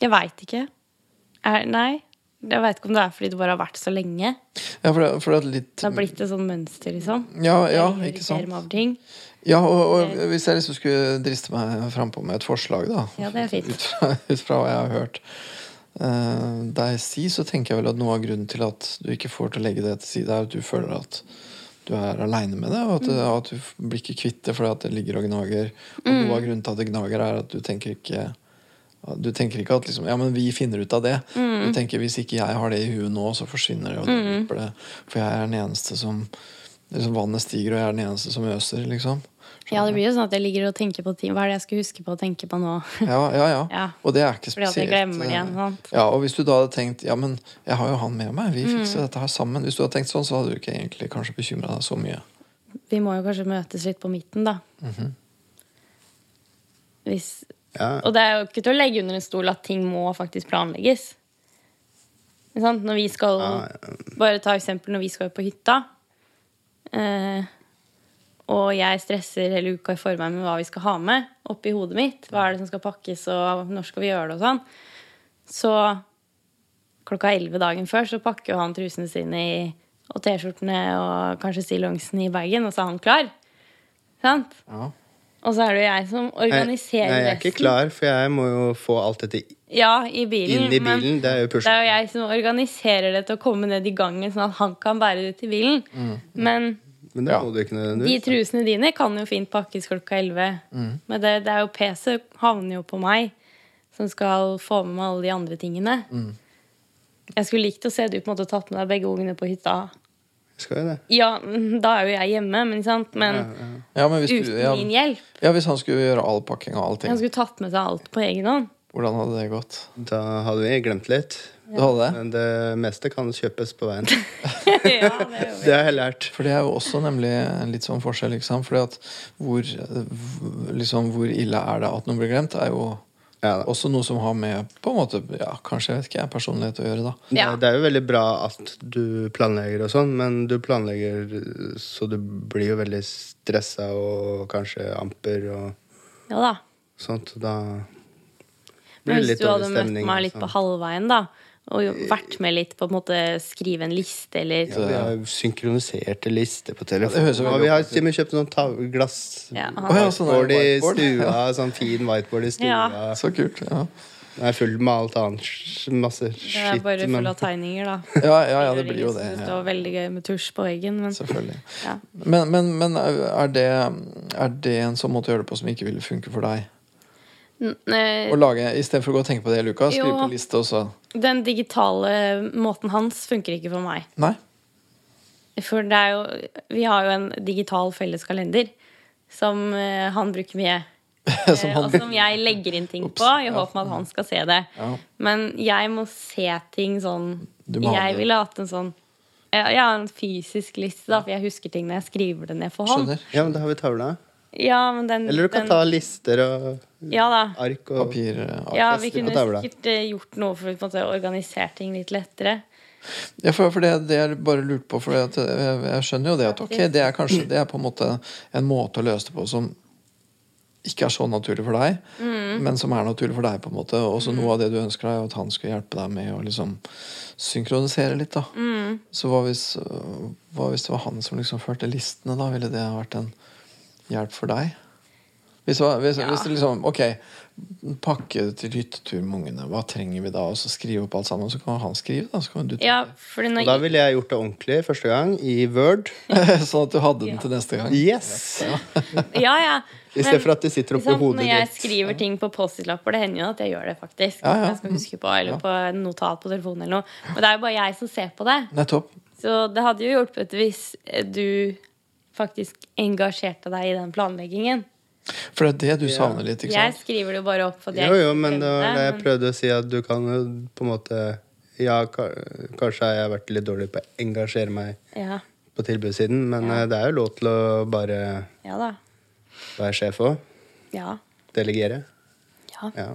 Speaker 5: Jeg veit ikke. Er, nei. Jeg veit ikke om det er fordi du bare har vært så lenge.
Speaker 2: Ja, for det, for det er litt
Speaker 5: Det har blitt et sånn mønster, liksom.
Speaker 2: Ja, ja
Speaker 5: Jeg
Speaker 2: ikke
Speaker 5: irriterer
Speaker 2: sant?
Speaker 5: meg over ting.
Speaker 2: Ja, og, og hvis jeg liksom skulle driste meg frampå med et forslag, da
Speaker 5: Ja, det er
Speaker 2: [laughs]
Speaker 5: fint.
Speaker 2: Ut fra, ut fra hva jeg har hørt eh, deg si, så tenker jeg vel at noe av grunnen til at du ikke får til å legge det til side, er at du føler at du er aleine med det, og
Speaker 5: Mm.
Speaker 2: at, du- at du blir ikke kvitt det fordi at det ligger og gnager. Og
Speaker 5: Mm.
Speaker 2: noe av grunnen til at det gnager, er at du tenker ikke du tenker ikke at liksom, ja, men vi finner ut av det.
Speaker 5: Mm.
Speaker 2: Du tenker hvis ikke jeg har det i huet nå, så forsvinner det. og det glipper det. For jeg er den eneste som Det er liksom vannet stiger, og jeg er den eneste som øser, liksom.
Speaker 5: Ja, det blir jo sånn at jeg ligger og tenker på ting. Hva er det jeg skal huske på å tenke på nå?
Speaker 2: Ja, ja, ja.
Speaker 5: Ja.
Speaker 2: Og det er ikke
Speaker 5: Fordi
Speaker 2: spesielt
Speaker 5: at jeg glemmer det igjen,
Speaker 2: eh,
Speaker 5: sant? Mm.
Speaker 2: Ja, og hvis du da hadde tenkt Ja, men jeg har jo han med meg, vi fikser dette her sammen. Hvis du hadde tenkt sånn, så hadde du ikke egentlig kanskje bekymra deg så mye.
Speaker 5: Vi må jo kanskje møtes litt på midten, da.
Speaker 2: Mhm.
Speaker 5: Hvis
Speaker 4: Ja.
Speaker 5: Og det er jo ikke til å legge under en stol at ting må faktisk planlegges. Ikke sant? Når vi skal
Speaker 4: Ja,
Speaker 5: Bare ta eksempel når vi skal på hytta. Eh, og jeg stresser hele uka i forveien med hva vi skal ha med oppi hodet mitt. Hva er det som skal pakkes, og når skal vi gjøre det, og sånn. Så klokka elleve dagen før så pakker jo han trusene sine i, og T-skjortene og kanskje stillongsen i bagen, og så er han klar. Sant?
Speaker 2: Ja.
Speaker 5: Og så er det jo jeg som
Speaker 4: Nei,
Speaker 5: organiserer
Speaker 4: nei, jeg er ikke klar, for jeg må jo få alt dette
Speaker 5: Ja, i bilen.
Speaker 4: inn i
Speaker 5: men
Speaker 4: bilen. Det er
Speaker 5: det er
Speaker 4: jo
Speaker 5: jo
Speaker 4: pushen.
Speaker 5: jeg som organiserer det til å komme ned i gangen, sånn at han kan bære det til bilen. Men
Speaker 4: Men det Mm.
Speaker 2: Ja.
Speaker 4: må Mm. du ikke
Speaker 5: de
Speaker 4: nødvendigvis.
Speaker 5: trusene dine kan jo fint pakkes klokka elleve. Men det, det er jo PC havner jo på meg, som skal få med meg alle de andre tingene.
Speaker 4: Mm.
Speaker 5: Jeg skulle likt å se du på en måte tatt med deg begge ungene på hytta.
Speaker 4: Skal jo det.
Speaker 5: Ja, da er jo jeg hjemme, men, ikke sant? men
Speaker 2: Ja, men hvis
Speaker 5: uten
Speaker 2: du, ja,
Speaker 5: min hjelp.
Speaker 2: ja, hvis han skulle gjøre all pakking og allting,
Speaker 5: Han skulle tatt med seg alt på egen hånd. [laughs]
Speaker 2: hvordan hadde det gått?
Speaker 4: Da hadde vi glemt litt.
Speaker 2: Du hadde det?
Speaker 4: Men det meste kan kjøpes på veien.
Speaker 5: ja, [laughs] det gjorde vi.
Speaker 4: Det har jeg lært.
Speaker 2: For det er jo også nemlig en litt sånn forskjell, ikke sant? Fordi at hvor, eh, liksom, hvor ille er det at noe blir glemt, er jo
Speaker 4: Ja, da.
Speaker 2: også noe som har med på en måte, ja, kanskje jeg vet ikke, personlighet å gjøre, da.
Speaker 5: Ja.
Speaker 4: Det, det er jo veldig bra at du planlegger og sånn, men du planlegger så du blir jo veldig stressa og kanskje amper og
Speaker 5: ja da.
Speaker 4: sånt. og Da
Speaker 5: Men
Speaker 4: blir det
Speaker 5: hvis
Speaker 4: litt
Speaker 5: du hadde
Speaker 4: dårlig
Speaker 5: møtt
Speaker 4: stemning.
Speaker 5: meg litt på
Speaker 4: sånn.
Speaker 5: halvveien, da, og jo vært med litt på å på en måte skrive en liste eller
Speaker 4: Ja, vi har jo synkroniserte lister på telefonen.
Speaker 2: høres jo veldig
Speaker 4: og vi har
Speaker 2: opp-
Speaker 4: til og med kjøpt sånn tav- glass
Speaker 5: Ja, han-
Speaker 2: Å ja, sånn der
Speaker 4: whiteboard i
Speaker 2: whiteboard.
Speaker 4: stua. [laughs] Sånn fin whiteboard i stua.
Speaker 5: Ja.
Speaker 2: Så kult. Ja,
Speaker 4: Den er full med alt annet. sj- Masse
Speaker 5: Det er
Speaker 4: skitt.
Speaker 5: bare
Speaker 4: men-
Speaker 5: full av tegninger, da. liksom,
Speaker 2: ja, ja, ja det blir jo det.
Speaker 5: Det
Speaker 2: Ja.
Speaker 5: står veldig gøy med tusj på veggen, men
Speaker 2: Selvfølgelig.
Speaker 5: Ja.
Speaker 2: Men, men, men er, det, er det en sånn måte å gjøre det på som ikke ville funke for deg?
Speaker 5: N- eh,
Speaker 2: Å lage, Istedenfor å gå og tenke på det, Lukas, skrive
Speaker 5: Jo.
Speaker 2: på en liste og så
Speaker 5: Den digitale måten hans funker ikke for meg.
Speaker 2: Nei?
Speaker 5: For det er jo Vi har jo en digital felleskalender som eh, han bruker
Speaker 4: [laughs]
Speaker 5: mye.
Speaker 2: Som
Speaker 5: Eh,
Speaker 2: han
Speaker 5: og som jeg legger inn ting på i håp om at han skal se det.
Speaker 2: Ja.
Speaker 5: Men jeg må se ting sånn
Speaker 2: Du må ha
Speaker 5: Jeg
Speaker 2: det.
Speaker 5: ville hatt en sånn ja, Jeg har en fysisk liste, da, for jeg husker ting når jeg skriver det ned for hånd.
Speaker 2: skjønner.
Speaker 4: Ja, men da har vi tavla.
Speaker 5: Ja, men den,
Speaker 4: Eller du kan
Speaker 5: den,
Speaker 4: ta lister og
Speaker 5: Ja da.
Speaker 4: ark og
Speaker 2: Papir eh,
Speaker 5: Ja, vi
Speaker 4: fest på
Speaker 5: kunne
Speaker 4: tavla.
Speaker 5: sikkert eh, gjort noe for å på en måte, organisere ting litt lettere.
Speaker 2: Ja, for, for det, det jeg bare lurte på For det, at jeg, jeg skjønner jo det at ok, det er kanskje Det er på en måte en måte å løse det på som ikke er så naturlig for deg, men som er naturlig for deg. på en måte Og så noe av det du ønsker deg, er jo at han skulle hjelpe deg med å liksom synkronisere litt. da Så hva hvis, øh, hva hvis det var han som liksom førte listene, da? Ville det ha vært en hjelp for deg? Hvis, det var- hvis, hvis det liksom Ok, pakke til hyttetur med ungene. Hva trenger vi da? Og så skrive opp alt sammen. Så kan han skrive, da. Så kan du
Speaker 5: Ja, fordi
Speaker 4: Og da
Speaker 5: når
Speaker 4: ville jeg gjort det ordentlig første gang, i Word.
Speaker 2: [laughs] sånn at du hadde den til neste gang.
Speaker 4: Yes!
Speaker 5: [laughs] Ja, ja.
Speaker 4: I stedet for at det sitter
Speaker 5: Ikke
Speaker 4: oppi
Speaker 5: sant?
Speaker 4: hodet
Speaker 5: Når jeg
Speaker 4: ditt.
Speaker 5: skriver ting på Post-It-lapper, det hender jo at jeg gjør det, faktisk.
Speaker 2: Ja, ja.
Speaker 5: Jeg skal huske på, Eller på en notat på telefonen eller noe. Men det er jo bare jeg som ser på det.
Speaker 2: Nettopp.
Speaker 5: Så det hadde jo hjulpet hvis eh, du faktisk engasjerte deg i den planleggingen.
Speaker 2: For det er det du savner litt, ikke
Speaker 5: Jeg
Speaker 2: sant?
Speaker 5: skriver det jo bare opp. fordi jeg
Speaker 4: Jo, jo,
Speaker 5: ikke
Speaker 4: men det var det jeg
Speaker 5: glemmer det,
Speaker 4: prøvde å si, at du kan jo på en måte Ja, ka- kanskje har jeg vært litt dårlig på å engasjere meg
Speaker 5: men- Ja,
Speaker 4: på tilbudssiden, men eh, det er jo lov til å bare
Speaker 5: ja da.
Speaker 4: være sjef òg.
Speaker 5: Ja.
Speaker 4: Delegere.
Speaker 5: Ja.
Speaker 4: Ja.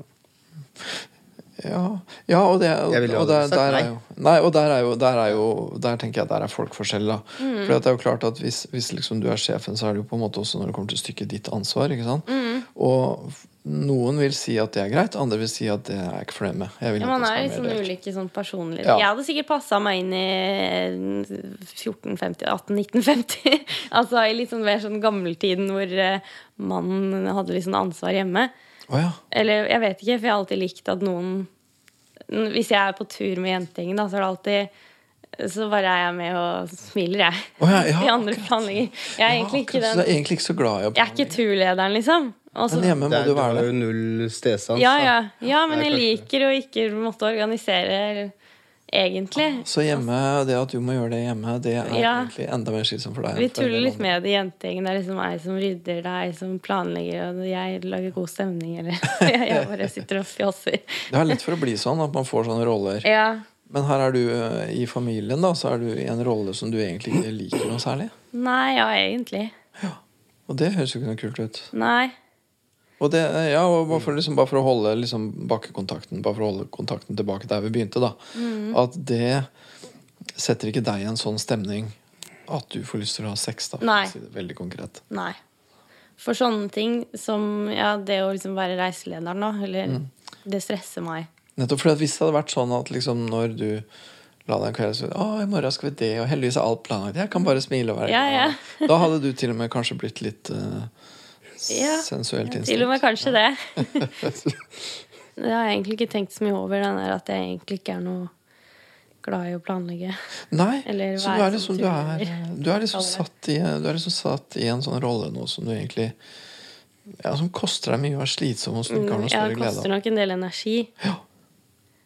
Speaker 2: Ja, ja og, det, og,
Speaker 4: Jeg ville
Speaker 2: og
Speaker 4: aldri
Speaker 2: der,
Speaker 4: sagt
Speaker 2: der
Speaker 4: nei.
Speaker 2: er jo Nei, og der er jo Der, er jo, der tenker jeg at der er folk forskjell, da.
Speaker 5: Mm.
Speaker 2: For det er jo klart at hvis, hvis liksom du er sjefen, så er det jo på en måte også når det kommer til stykket ditt ansvar, ikke sant?
Speaker 5: Mm.
Speaker 2: Og f- noen vil si at det er greit, andre vil si at det er jeg ikke fornøyd med. Jeg vil
Speaker 5: Ja,
Speaker 2: at
Speaker 5: man
Speaker 2: det
Speaker 5: er
Speaker 2: skal
Speaker 5: liksom
Speaker 2: være mer delt.
Speaker 5: ulike sånn personligheter.
Speaker 2: Ja.
Speaker 5: Jeg hadde sikkert passa meg inn i eh, 1450, 1850. [laughs] altså i litt sånn mer sånn gammeltiden hvor eh, mannen hadde litt sånn ansvar hjemme.
Speaker 2: Å ja.
Speaker 5: Eller jeg vet ikke, for jeg har alltid likt at noen Hvis jeg er på tur med jentegjengen, da, så er det alltid Så bare er jeg med og smiler, jeg.
Speaker 2: Å ja,
Speaker 5: [laughs]
Speaker 2: ja,
Speaker 5: De andre
Speaker 2: akkurat.
Speaker 5: planlegger. Jeg er
Speaker 2: Ja,
Speaker 5: egentlig ikke
Speaker 2: akkurat, Så du
Speaker 5: den
Speaker 2: er egentlig ikke så glad i å
Speaker 5: Jeg er ikke turlederen, liksom. Og så-
Speaker 2: Men hjemme
Speaker 4: Det
Speaker 2: må
Speaker 4: er,
Speaker 2: du
Speaker 4: du har
Speaker 2: være det.
Speaker 4: jo null stedsans.
Speaker 5: ja,
Speaker 4: da.
Speaker 5: Sånn, ja. ja, men
Speaker 4: Det
Speaker 5: jeg
Speaker 4: er
Speaker 5: liker å ikke måtte organisere egentlig.
Speaker 2: Så hjemme, det at du må gjøre det hjemme, det er
Speaker 5: Ja.
Speaker 2: egentlig enda mer slitsomt for deg. enn
Speaker 5: Vi
Speaker 2: for en
Speaker 5: tuller
Speaker 2: del
Speaker 5: litt
Speaker 2: andre.
Speaker 5: med det i jentegjengen. Det er liksom jeg som rydder, det er jeg som planlegger, og jeg lager god stemning, [laughs] eller jeg jeg bare sitter og fjasser.
Speaker 2: Det er lett for å bli sånn at man får sånne roller.
Speaker 5: Ja.
Speaker 2: Men her er du eh, i familien, da, så er du i en rolle som du egentlig ikke liker noe særlig.
Speaker 5: Nei, ja, egentlig.
Speaker 2: Og det høres jo ikke noe kult ut.
Speaker 5: Nei.
Speaker 2: Og det, eh, ja, og bare for, liksom, bare for å holde liksom, bakkekontakten Bare for å holde kontakten tilbake der vi begynte, da. At det setter ikke deg i en sånn stemning at du får lyst til å ha sex, da. for å
Speaker 5: Nei.
Speaker 2: si det veldig konkret.
Speaker 5: Nei. For sånne ting som ja, det å liksom være reiseleder nå, eller Det stresser meg.
Speaker 2: Nettopp fordi at hvis det hadde vært sånn at liksom, når du la deg en kveld så, Å, i morgen skal vi det, og heldigvis er alt planlagt. Jeg kan bare smile og være
Speaker 5: Ja, ja.
Speaker 2: glad.» Da hadde du til og med kanskje blitt litt eh, s-
Speaker 5: Ja,
Speaker 2: sensuelt
Speaker 5: Til og
Speaker 2: innstilt.
Speaker 5: med kanskje det. [laughs] Det har jeg egentlig ikke tenkt så mye over, den der at jeg egentlig ikke er noe glad i å planlegge.
Speaker 2: Nei,
Speaker 5: Eller
Speaker 2: så
Speaker 5: være sånn
Speaker 2: du er liksom,
Speaker 5: som du
Speaker 2: du er,
Speaker 5: er.
Speaker 2: du er liksom
Speaker 5: Kaller det.
Speaker 2: satt i, du er liksom satt i en sånn rolle nå som du egentlig ja, Som koster deg mye og er slitsom og som du ikke har noe
Speaker 5: Ja, det
Speaker 2: større glede
Speaker 5: koster
Speaker 2: av.
Speaker 5: nok en del energi.
Speaker 2: Ja.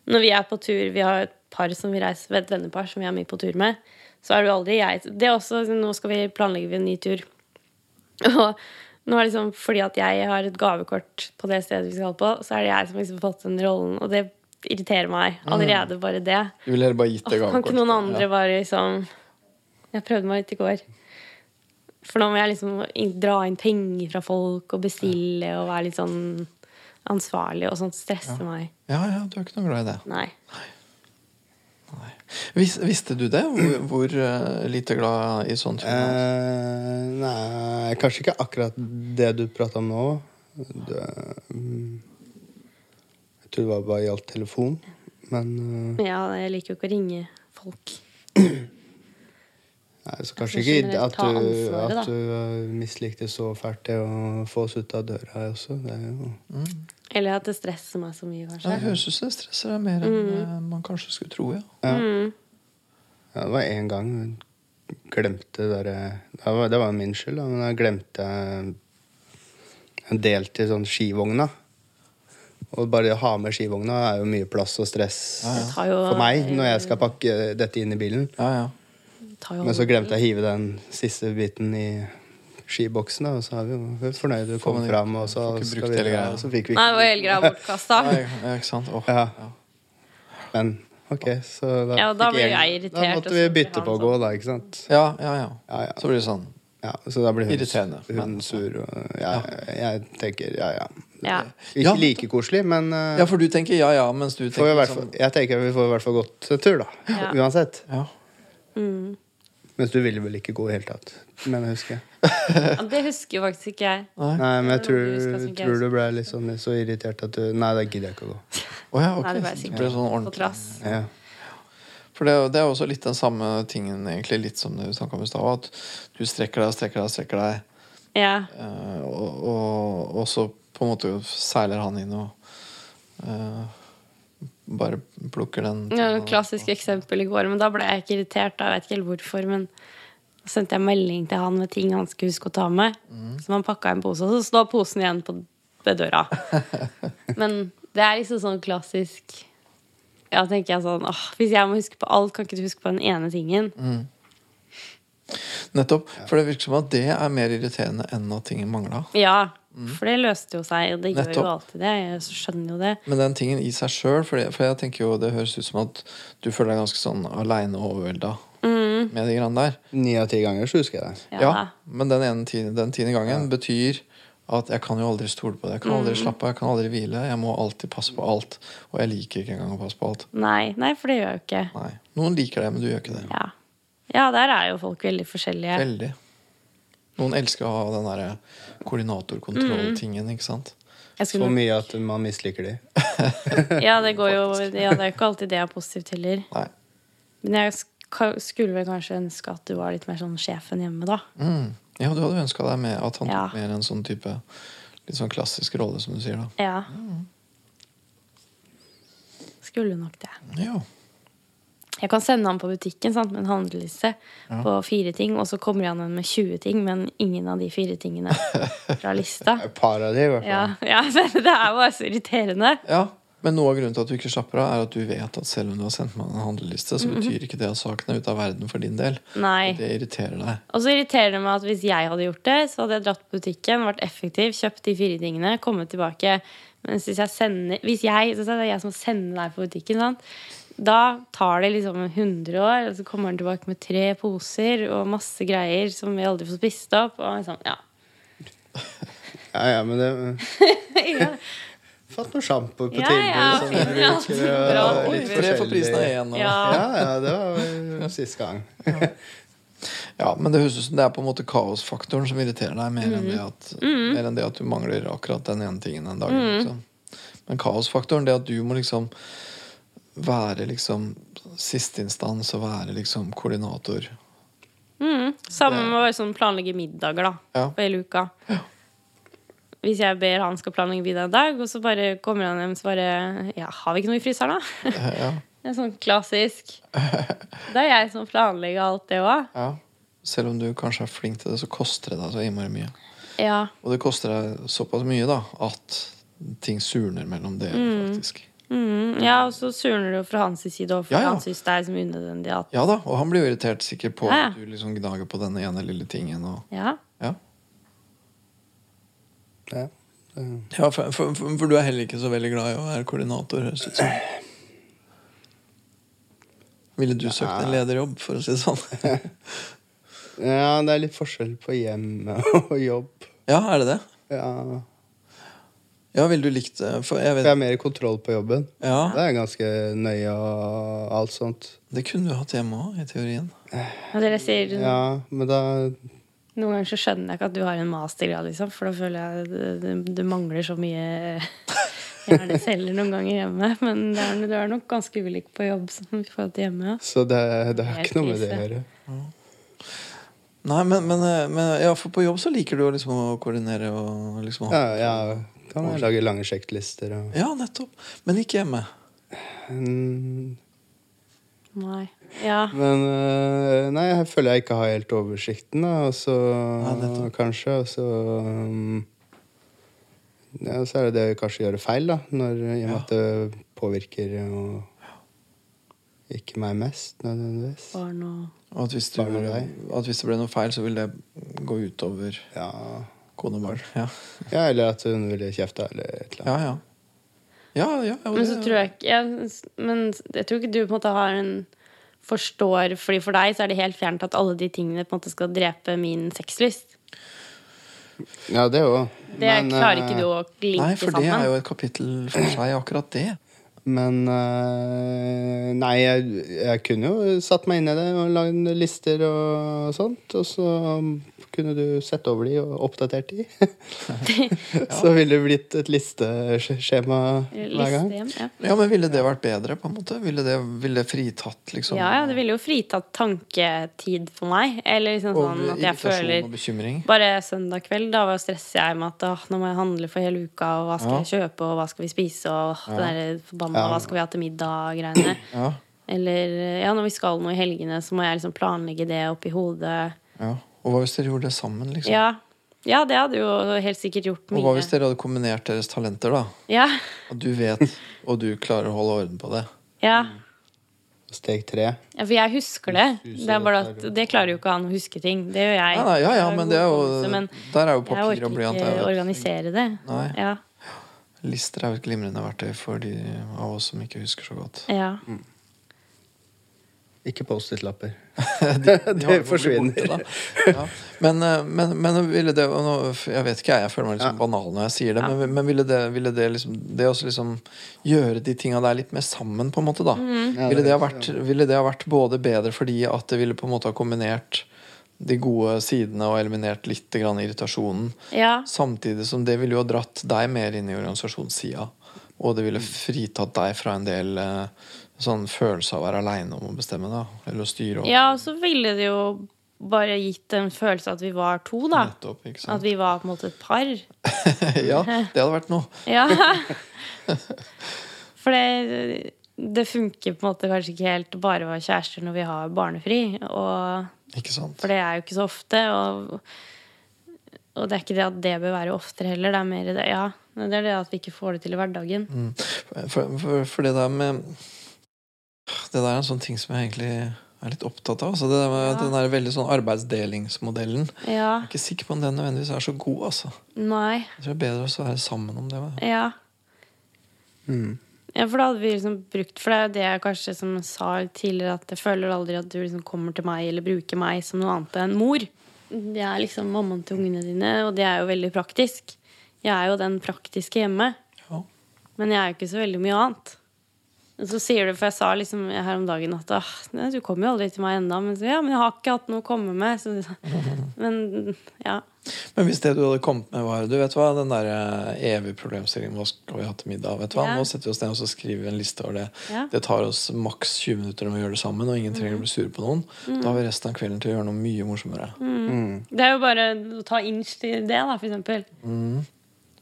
Speaker 5: Når vi er på tur, vi har et par som vi reiser et vennepar som vi er mye på tur med, så er det jo aldri jeg Det er også Nå skal vi planlegge en ny tur. [laughs] Og nå er det liksom fordi at jeg har et gavekort på det stedet vi skal på, så er det jeg som liksom har fått den rollen, og det irriterer meg
Speaker 2: Mm.
Speaker 5: allerede, bare det.
Speaker 2: Du ville heller bare gitt det
Speaker 5: Åh, Kan
Speaker 2: gavekortet.
Speaker 5: ikke noen andre bare liksom Jeg prøvde meg litt i går. For nå må jeg liksom in- dra inn penger fra folk og bestille og være litt sånn ansvarlig og sånt. Stresser meg.
Speaker 2: Ja, ja, du er ikke noe glad i det.
Speaker 5: Nei.
Speaker 2: Nei. Vis, visste du det? Hvor, hvor eh, lite glad i sånn type
Speaker 4: Eh, nei, kanskje ikke akkurat det du prata om nå. Det, mm, jeg tror det var bare gjaldt telefon. Men eh,
Speaker 5: Men ja, jeg liker jo ikke å ringe folk.
Speaker 4: nei, så kanskje
Speaker 5: Jeg synes
Speaker 4: ikke at
Speaker 5: generelt,
Speaker 4: du,
Speaker 5: ta ansvaret, da.
Speaker 4: at du eh, mislikte så fælt det å få oss ut av døra også. Det er jo
Speaker 5: Eller at det stresser meg så mye,
Speaker 2: Ja,
Speaker 5: kanskje.
Speaker 2: det høres ut som det stresser deg mer enn
Speaker 5: Mm.
Speaker 2: eh, man kanskje skulle tro. ja.
Speaker 4: Ja, det var én gang hun glemte det derre det, var- det var min skyld, da, men jeg glemte en del til sånn skivogna. Og bare det å ha med skivogna er jo mye plass og stress
Speaker 5: Det tar jo- eh,
Speaker 4: for meg når jeg skal pakke dette inn i bilen.
Speaker 2: Ja, ja.
Speaker 5: Tar jo
Speaker 4: Men så glemte jeg å hive den siste biten i skiboksen, da, og så er vi jo fornøyde å
Speaker 2: Får man
Speaker 4: komme
Speaker 2: ikke-
Speaker 4: fram, og så,
Speaker 2: får ikke
Speaker 4: skal
Speaker 2: brukt
Speaker 4: vi,
Speaker 2: hele greia.
Speaker 4: ja, så fikk vi
Speaker 5: Nei,
Speaker 4: ikke
Speaker 5: det var hele greia bortkasta.
Speaker 2: [laughs] Nei, ja, ikke sant? Åh,
Speaker 4: Ja.
Speaker 2: ja.
Speaker 4: Men ok, så da,
Speaker 5: Ja, da
Speaker 4: fikk
Speaker 5: ble
Speaker 4: jeg-
Speaker 5: jeg irritert,
Speaker 4: Da
Speaker 5: og
Speaker 4: måtte
Speaker 5: så
Speaker 4: vi
Speaker 5: ble
Speaker 4: bytte
Speaker 5: han
Speaker 4: på å gå, da, ikke sant?
Speaker 2: Ja, ja, ja.
Speaker 4: Ja, ja.
Speaker 2: Så blir det sånn.
Speaker 4: Ja, så da blir hun,
Speaker 2: Irriterende,
Speaker 4: hun
Speaker 2: men-
Speaker 4: sur. Og, ja, jeg tenker ja, ja.
Speaker 5: Ja.
Speaker 4: Ikke
Speaker 2: Ja.
Speaker 4: like koselig, men eh,
Speaker 2: Ja, for du tenker ja, ja, mens du
Speaker 4: får vi i
Speaker 2: tenker
Speaker 4: hvert fall,
Speaker 2: sånn
Speaker 4: jeg tenker vi får i hvert fall gått en tur, da.
Speaker 5: Ja.
Speaker 4: [laughs] Uansett.
Speaker 2: ja.
Speaker 5: Mm.
Speaker 4: Mens du ville vel ikke gå i det hele tatt, men jeg husker.
Speaker 5: Ja, det husker jo faktisk ikke jeg.
Speaker 4: Nei, men jeg
Speaker 5: Det var
Speaker 4: tror,
Speaker 5: noe du husker som ikke jeg
Speaker 4: tror du ble litt sånn så irritert at du Nei, da gidder jeg ikke å gå.
Speaker 5: [laughs]
Speaker 2: Å ja, ok.
Speaker 5: Nei, det ble
Speaker 2: det ble
Speaker 5: sikkert
Speaker 2: sånn
Speaker 5: på
Speaker 2: ordentlig.
Speaker 5: trass.
Speaker 4: Ja.
Speaker 2: For det, er jo- det er jo også litt den samme tingen, egentlig, litt som det vi snakket om i stad. At du strekker deg, strekker deg, strekker deg,
Speaker 5: Ja.
Speaker 2: eh, og, og, og så på en måte seiler han inn og eh, bare plukker den
Speaker 5: Ja,
Speaker 2: tingen
Speaker 5: et klassisk eksempel i går, men da ble jeg ikke irritert. Da, jeg vet ikke helt hvorfor, men så sendte jeg melding til han med ting han skulle huske å ta med. Så han pakka en pose, og så står posen igjen på ved døra. men det er liksom sånn klassisk Ja, tenker jeg sånn åh, Hvis jeg må huske på alt, kan ikke du huske på den ene tingen?
Speaker 2: og- Nettopp. For det virker som at det er mer irriterende enn at tingen mangla.
Speaker 5: Ja, for det løste jo seg, og det gjør jo
Speaker 2: Nettopp.
Speaker 5: alltid det. Jeg skjønner jo det.
Speaker 2: Men den tingen i seg sjøl, for, det- for jeg tenker jo det høres ut som at du føler deg ganske sånn aleine og overvelda med de greiene der.
Speaker 4: Ni av ti ganger så husker jeg det.
Speaker 5: Mm. Ja,
Speaker 2: Ja, men den ene tiende, den tiende gangen betyr at jeg kan jo aldri stole på det. Jeg kan aldri
Speaker 5: Mm.
Speaker 2: slappe av, jeg kan aldri hvile. Jeg må alltid passe på alt. Og jeg liker ikke engang å passe på alt.
Speaker 5: Nei, nei, for det gjør jeg jo ikke.
Speaker 2: Nei. Noen liker det, men du gjør ikke det.
Speaker 5: Ja. ja, der er jo folk veldig forskjellige.
Speaker 2: Veldig. Noen elsker å ha den derre
Speaker 5: Mm.
Speaker 2: koordinatorkontroll-tingen, ikke sant?
Speaker 5: Jeg
Speaker 4: Så
Speaker 5: skulle
Speaker 4: mye at man misliker de.
Speaker 5: Ja, det går jo ja, Det er jo ikke alltid det er positivt heller.
Speaker 2: Nei.
Speaker 5: Men jeg sk- skulle vel kanskje ønske at du var litt mer sånn sjefen hjemme, da.
Speaker 2: Mm. Ja, du hadde ønska deg mer, at han
Speaker 5: Ja.
Speaker 2: tok mer en sånn type litt sånn klassisk rolle, som du sier, da.
Speaker 5: Ja. Skulle nok det.
Speaker 2: Ja.
Speaker 5: Jeg kan sende han på butikken sant, med en handleliste på fire ting, og så kommer han igjen med 20 ting, men ingen av de fire tingene fra lista.
Speaker 4: [laughs] Et par av de, i hvert fall.
Speaker 5: [laughs] Ja, ja men det er bare så irriterende.
Speaker 2: ja. Men noe av grunnen til at du ikke slapper av, er at du vet at selv om du har sendt meg en handleliste, så betyr ikke det at saken er ute av verden for din del.
Speaker 5: Nei.
Speaker 2: Og Det irriterer deg.
Speaker 5: Og så irriterer det meg at hvis jeg hadde gjort det, så hadde jeg dratt på butikken, vært effektiv, kjøpt de fire tingene, kommet tilbake. Mens hvis jeg sender Hvis jeg, så er det jeg som sender deg på butikken, sant? da tar det liksom 100 år, og så kommer han tilbake med tre poser og masse greier som vi aldri får spist opp. Og sånn, ja.
Speaker 4: Ja, ja, men det
Speaker 5: ja.
Speaker 4: Fått noe sjampo på
Speaker 5: Ja,
Speaker 4: tilbud sånn
Speaker 5: ja,
Speaker 4: som
Speaker 5: [laughs] ja,
Speaker 4: du bruker,
Speaker 5: bra.
Speaker 4: og litt
Speaker 2: Tre for prisen av
Speaker 4: forskjellig.
Speaker 2: én. Og...
Speaker 5: ja.
Speaker 4: Ja, ja, det var eh, siste gang.
Speaker 2: Ja, men det høres ut som det er på en måte kaosfaktoren som irriterer deg, mer,
Speaker 5: Mm.
Speaker 2: enn, det at, mer enn det at du mangler akkurat den ene tingen den dagen.
Speaker 5: Mm.
Speaker 2: Liksom. Men kaosfaktoren, det at du må liksom være liksom siste instans og være liksom koordinator.
Speaker 5: Mm. Samme med å være sånn planlegge middager da,
Speaker 2: Ja.
Speaker 5: på hele uka. Hvis jeg ber han skal planlegge middag en dag, og så bare kommer han hjem og bare Ja, har vi ikke noe i fryseren, da?
Speaker 2: Ja,
Speaker 5: Det er sånn klassisk. Det er jeg som planlegger alt det òg.
Speaker 2: ja. Selv om du kanskje er flink til det, så koster det deg så innmari mye.
Speaker 5: Ja.
Speaker 2: Og det koster deg såpass mye da at ting surner mellom dere, faktisk.
Speaker 5: Mm, ja, og så surner det jo fra hans side òg, for
Speaker 2: Ja, ja.
Speaker 5: han syns det er liksom unødvendig at
Speaker 2: Ja da, og han blir jo irritert sikkert på
Speaker 5: Ja, ja.
Speaker 2: at du liksom gnager på denne ene lille tingen. Og,
Speaker 5: Ja.
Speaker 2: ja.
Speaker 4: Ja. Eh,
Speaker 2: Ja, for, for, for, for du er heller ikke så veldig glad i å være koordinator. høres det ut som. Ville du søkt en lederjobb, for å si det sånn?
Speaker 4: Ja, det er litt forskjell på hjem og jobb.
Speaker 2: Ja, er det det?
Speaker 4: Ja.
Speaker 2: Ja, ville du likt det? For jeg
Speaker 4: Jeg
Speaker 2: vet
Speaker 4: har mer kontroll på jobben.
Speaker 2: Ja,
Speaker 4: Det er ganske nøye og alt sånt.
Speaker 2: det kunne du hatt hjemme òg, i teorien.
Speaker 5: Og dere sier
Speaker 4: Ja, men da
Speaker 5: Noen ganger så skjønner jeg ikke at du har en mastergrad, liksom, for da føler jeg det, det, det mangler så mye [laughs] hjerneceller noen ganger hjemme. Men det er, du er nok ganske ulik på jobb som i forhold til hjemme. ja.
Speaker 4: Så det, det har
Speaker 5: Det er
Speaker 4: ikke noe med det å
Speaker 5: krise.
Speaker 4: gjøre.
Speaker 2: Nei, men, men, eh, men ja, for på jobb så liker du å liksom å koordinere og liksom
Speaker 4: Ja,
Speaker 2: ha
Speaker 4: ja. Kan jeg lage lange sjekklister og
Speaker 2: Ja, nettopp. Men ikke hjemme.
Speaker 4: Mm,
Speaker 5: Nei. Ja.
Speaker 4: Men øh, nei, jeg føler jeg ikke har helt oversikten, da. Og så
Speaker 2: nettopp.
Speaker 4: kanskje Og så um, ja, Så er det det å kanskje gjøre feil, da. Når, I og med at det påvirker jo ikke meg mest, nødvendigvis.
Speaker 5: Barn og
Speaker 2: Og at hvis, du,
Speaker 4: Bare deg.
Speaker 2: at hvis det ble noe feil, så vil det gå utover
Speaker 4: Ja.
Speaker 2: kone og barn. Ja,
Speaker 4: ja, eller at hun ville kjefte, eller et eller
Speaker 2: ja.
Speaker 4: annet.
Speaker 2: ja. ja, ja, ja
Speaker 5: Men så tror jeg ikke jeg, Men jeg tror ikke du på en måte har en Forstår Fordi for deg så er det helt fjernt at alle de tingene på en måte skal drepe min sexlyst.
Speaker 4: Ja, det òg.
Speaker 5: Det klarer ikke du å linke
Speaker 2: eh, Nei, for det
Speaker 5: sammen.
Speaker 2: er jo et kapittel for seg, akkurat det.
Speaker 4: Men eh, Nei, jeg, jeg kunne jo satt meg inn i det og lagd lister og sånt. Og så kunne du sett over de og oppdatert de. [laughs] Så ville det blitt et listeskjema hver gang.
Speaker 5: Listehjem, ja.
Speaker 2: Ja, men Ville det vært bedre? på en måte? Ville det, ville det fritatt liksom
Speaker 5: Ja, ja, det ville jo fritatt tanketid for meg. Eller liksom sånn
Speaker 2: og
Speaker 5: at jeg
Speaker 2: irritasjon
Speaker 5: føler
Speaker 2: og bekymring?
Speaker 5: Bare søndag kveld da var- stresser jeg med at «Åh, nå må jeg handle for hele uka, og hva skal jeg kjøpe, og hva skal vi spise, og åh, det der forbanna hva skal vi ha til middag-greiene.
Speaker 2: Ja,
Speaker 5: Eller ja, når vi skal noe i helgene, så må jeg liksom planlegge det oppi hodet.
Speaker 2: ja. Og hva hvis dere gjorde det sammen? liksom?
Speaker 5: Ja. ja, det hadde jo helt sikkert gjort
Speaker 2: og hva
Speaker 5: mye.
Speaker 2: hvis dere hadde kombinert deres talenter? da?
Speaker 5: Ja,
Speaker 2: At du vet, og du klarer å holde orden på det.
Speaker 5: ja.
Speaker 2: Mm.
Speaker 4: Steg tre.
Speaker 5: Ja, for jeg husker det. Det er bare at det klarer jo ikke han å huske ting. Det gjør jeg.
Speaker 2: Nei, nei, ja, ja,
Speaker 5: Jeg
Speaker 2: men
Speaker 5: god
Speaker 2: det er
Speaker 5: hukommelse,
Speaker 2: jo,
Speaker 5: men
Speaker 2: Der er jo
Speaker 5: jeg
Speaker 2: papir
Speaker 5: orker
Speaker 2: og blyant.
Speaker 5: ikke
Speaker 2: er jo-
Speaker 5: organisere det.
Speaker 2: Nei.
Speaker 5: Ja.
Speaker 2: Lister er jo et glimrende verktøy for de av oss som ikke husker så godt.
Speaker 5: ja.
Speaker 2: Mm.
Speaker 4: Ikke
Speaker 2: [laughs]
Speaker 4: Post-It-lapper.
Speaker 2: De har jo
Speaker 4: [laughs] Det forsvinner.
Speaker 2: blitt borte, da. Ja. Men, eh, men, men ville det og nå, Jeg vet ikke, jeg, jeg føler meg litt sånn banal når jeg sier det, men, men ville det, ville det, liksom, det også liksom gjøre de tinga der litt mer sammen, på en måte, da?
Speaker 4: Ja,
Speaker 2: Ville,
Speaker 4: det
Speaker 2: det ha
Speaker 4: høres
Speaker 2: vært, ville det ha vært både bedre fordi at det ville på en måte ha kombinert de gode sidene og eliminert litt grann irritasjonen,
Speaker 5: ja.
Speaker 2: samtidig som det ville jo ha dratt deg mer inn i organisasjonssida, og det
Speaker 5: Mm.
Speaker 2: ville fritatt deg fra en del eh, sånn følelse av å være aleine om å bestemme, da, eller å styre over.
Speaker 5: Ja, og så ville det jo bare gitt en følelse at vi var to, da.
Speaker 2: Nettopp, ikke sant?
Speaker 5: At vi var på en måte et
Speaker 2: [laughs]
Speaker 5: par. [laughs]
Speaker 2: ja, det hadde vært noe.
Speaker 5: Ja. For det, det funker på en måte kanskje ikke helt å bare å være kjærester når vi har barnefri. Og,
Speaker 2: Ikke sant?
Speaker 5: for det er jo ikke så ofte. Og, Og det er ikke det at det bør være oftere heller. Det er mer det, ja, men det, er det at vi ikke får det til i hverdagen.
Speaker 2: Mm. For, for, for det der med Det der er en sånn ting som jeg egentlig er litt opptatt av. Altså det der med
Speaker 5: Ja.
Speaker 2: Den der veldig sånn arbeidsdelingsmodellen. Jeg
Speaker 5: Ja.
Speaker 2: er ikke sikker på om den nødvendigvis er så god. altså.
Speaker 5: Nei.
Speaker 2: Jeg tror det er bedre å være sammen om det. hva?
Speaker 5: Ja.
Speaker 4: Mm.
Speaker 5: Ja, for da hadde vi liksom brukt For det er jo det jeg kanskje som jeg sa tidligere, at jeg føler aldri at du liksom kommer til meg eller bruker meg som noe annet enn mor. Det er liksom mammaen til ungene dine, og det er jo veldig praktisk. Jeg er jo den praktiske hjemme,
Speaker 2: Ja.
Speaker 5: men jeg er jo ikke så veldig mye annet. Og så sier du, for jeg sa liksom her om dagen at «Åh, nei, du kommer jo aldri til meg ennå. Men så, ja, men jeg har ikke hatt noe å komme med. Så, [laughs] men ja.
Speaker 2: Men hvis det du hadde kommet med, var du vet hva, den der eh, evige problemstillingen Hva skal vi ha til middag? vet du hva,
Speaker 5: Ja.
Speaker 2: Nå setter vi oss ned og så skriver vi en liste over det.
Speaker 5: Ja. Mhm.
Speaker 2: Det tar oss maks 20 minutter om vi gjør det sammen, og ingen trenger å bli sure på noen.
Speaker 5: Mm.
Speaker 2: Da har vi resten av kvelden til å gjøre noe mye morsommere.
Speaker 5: Det er jo bare å ta inch til det, da, for eksempel.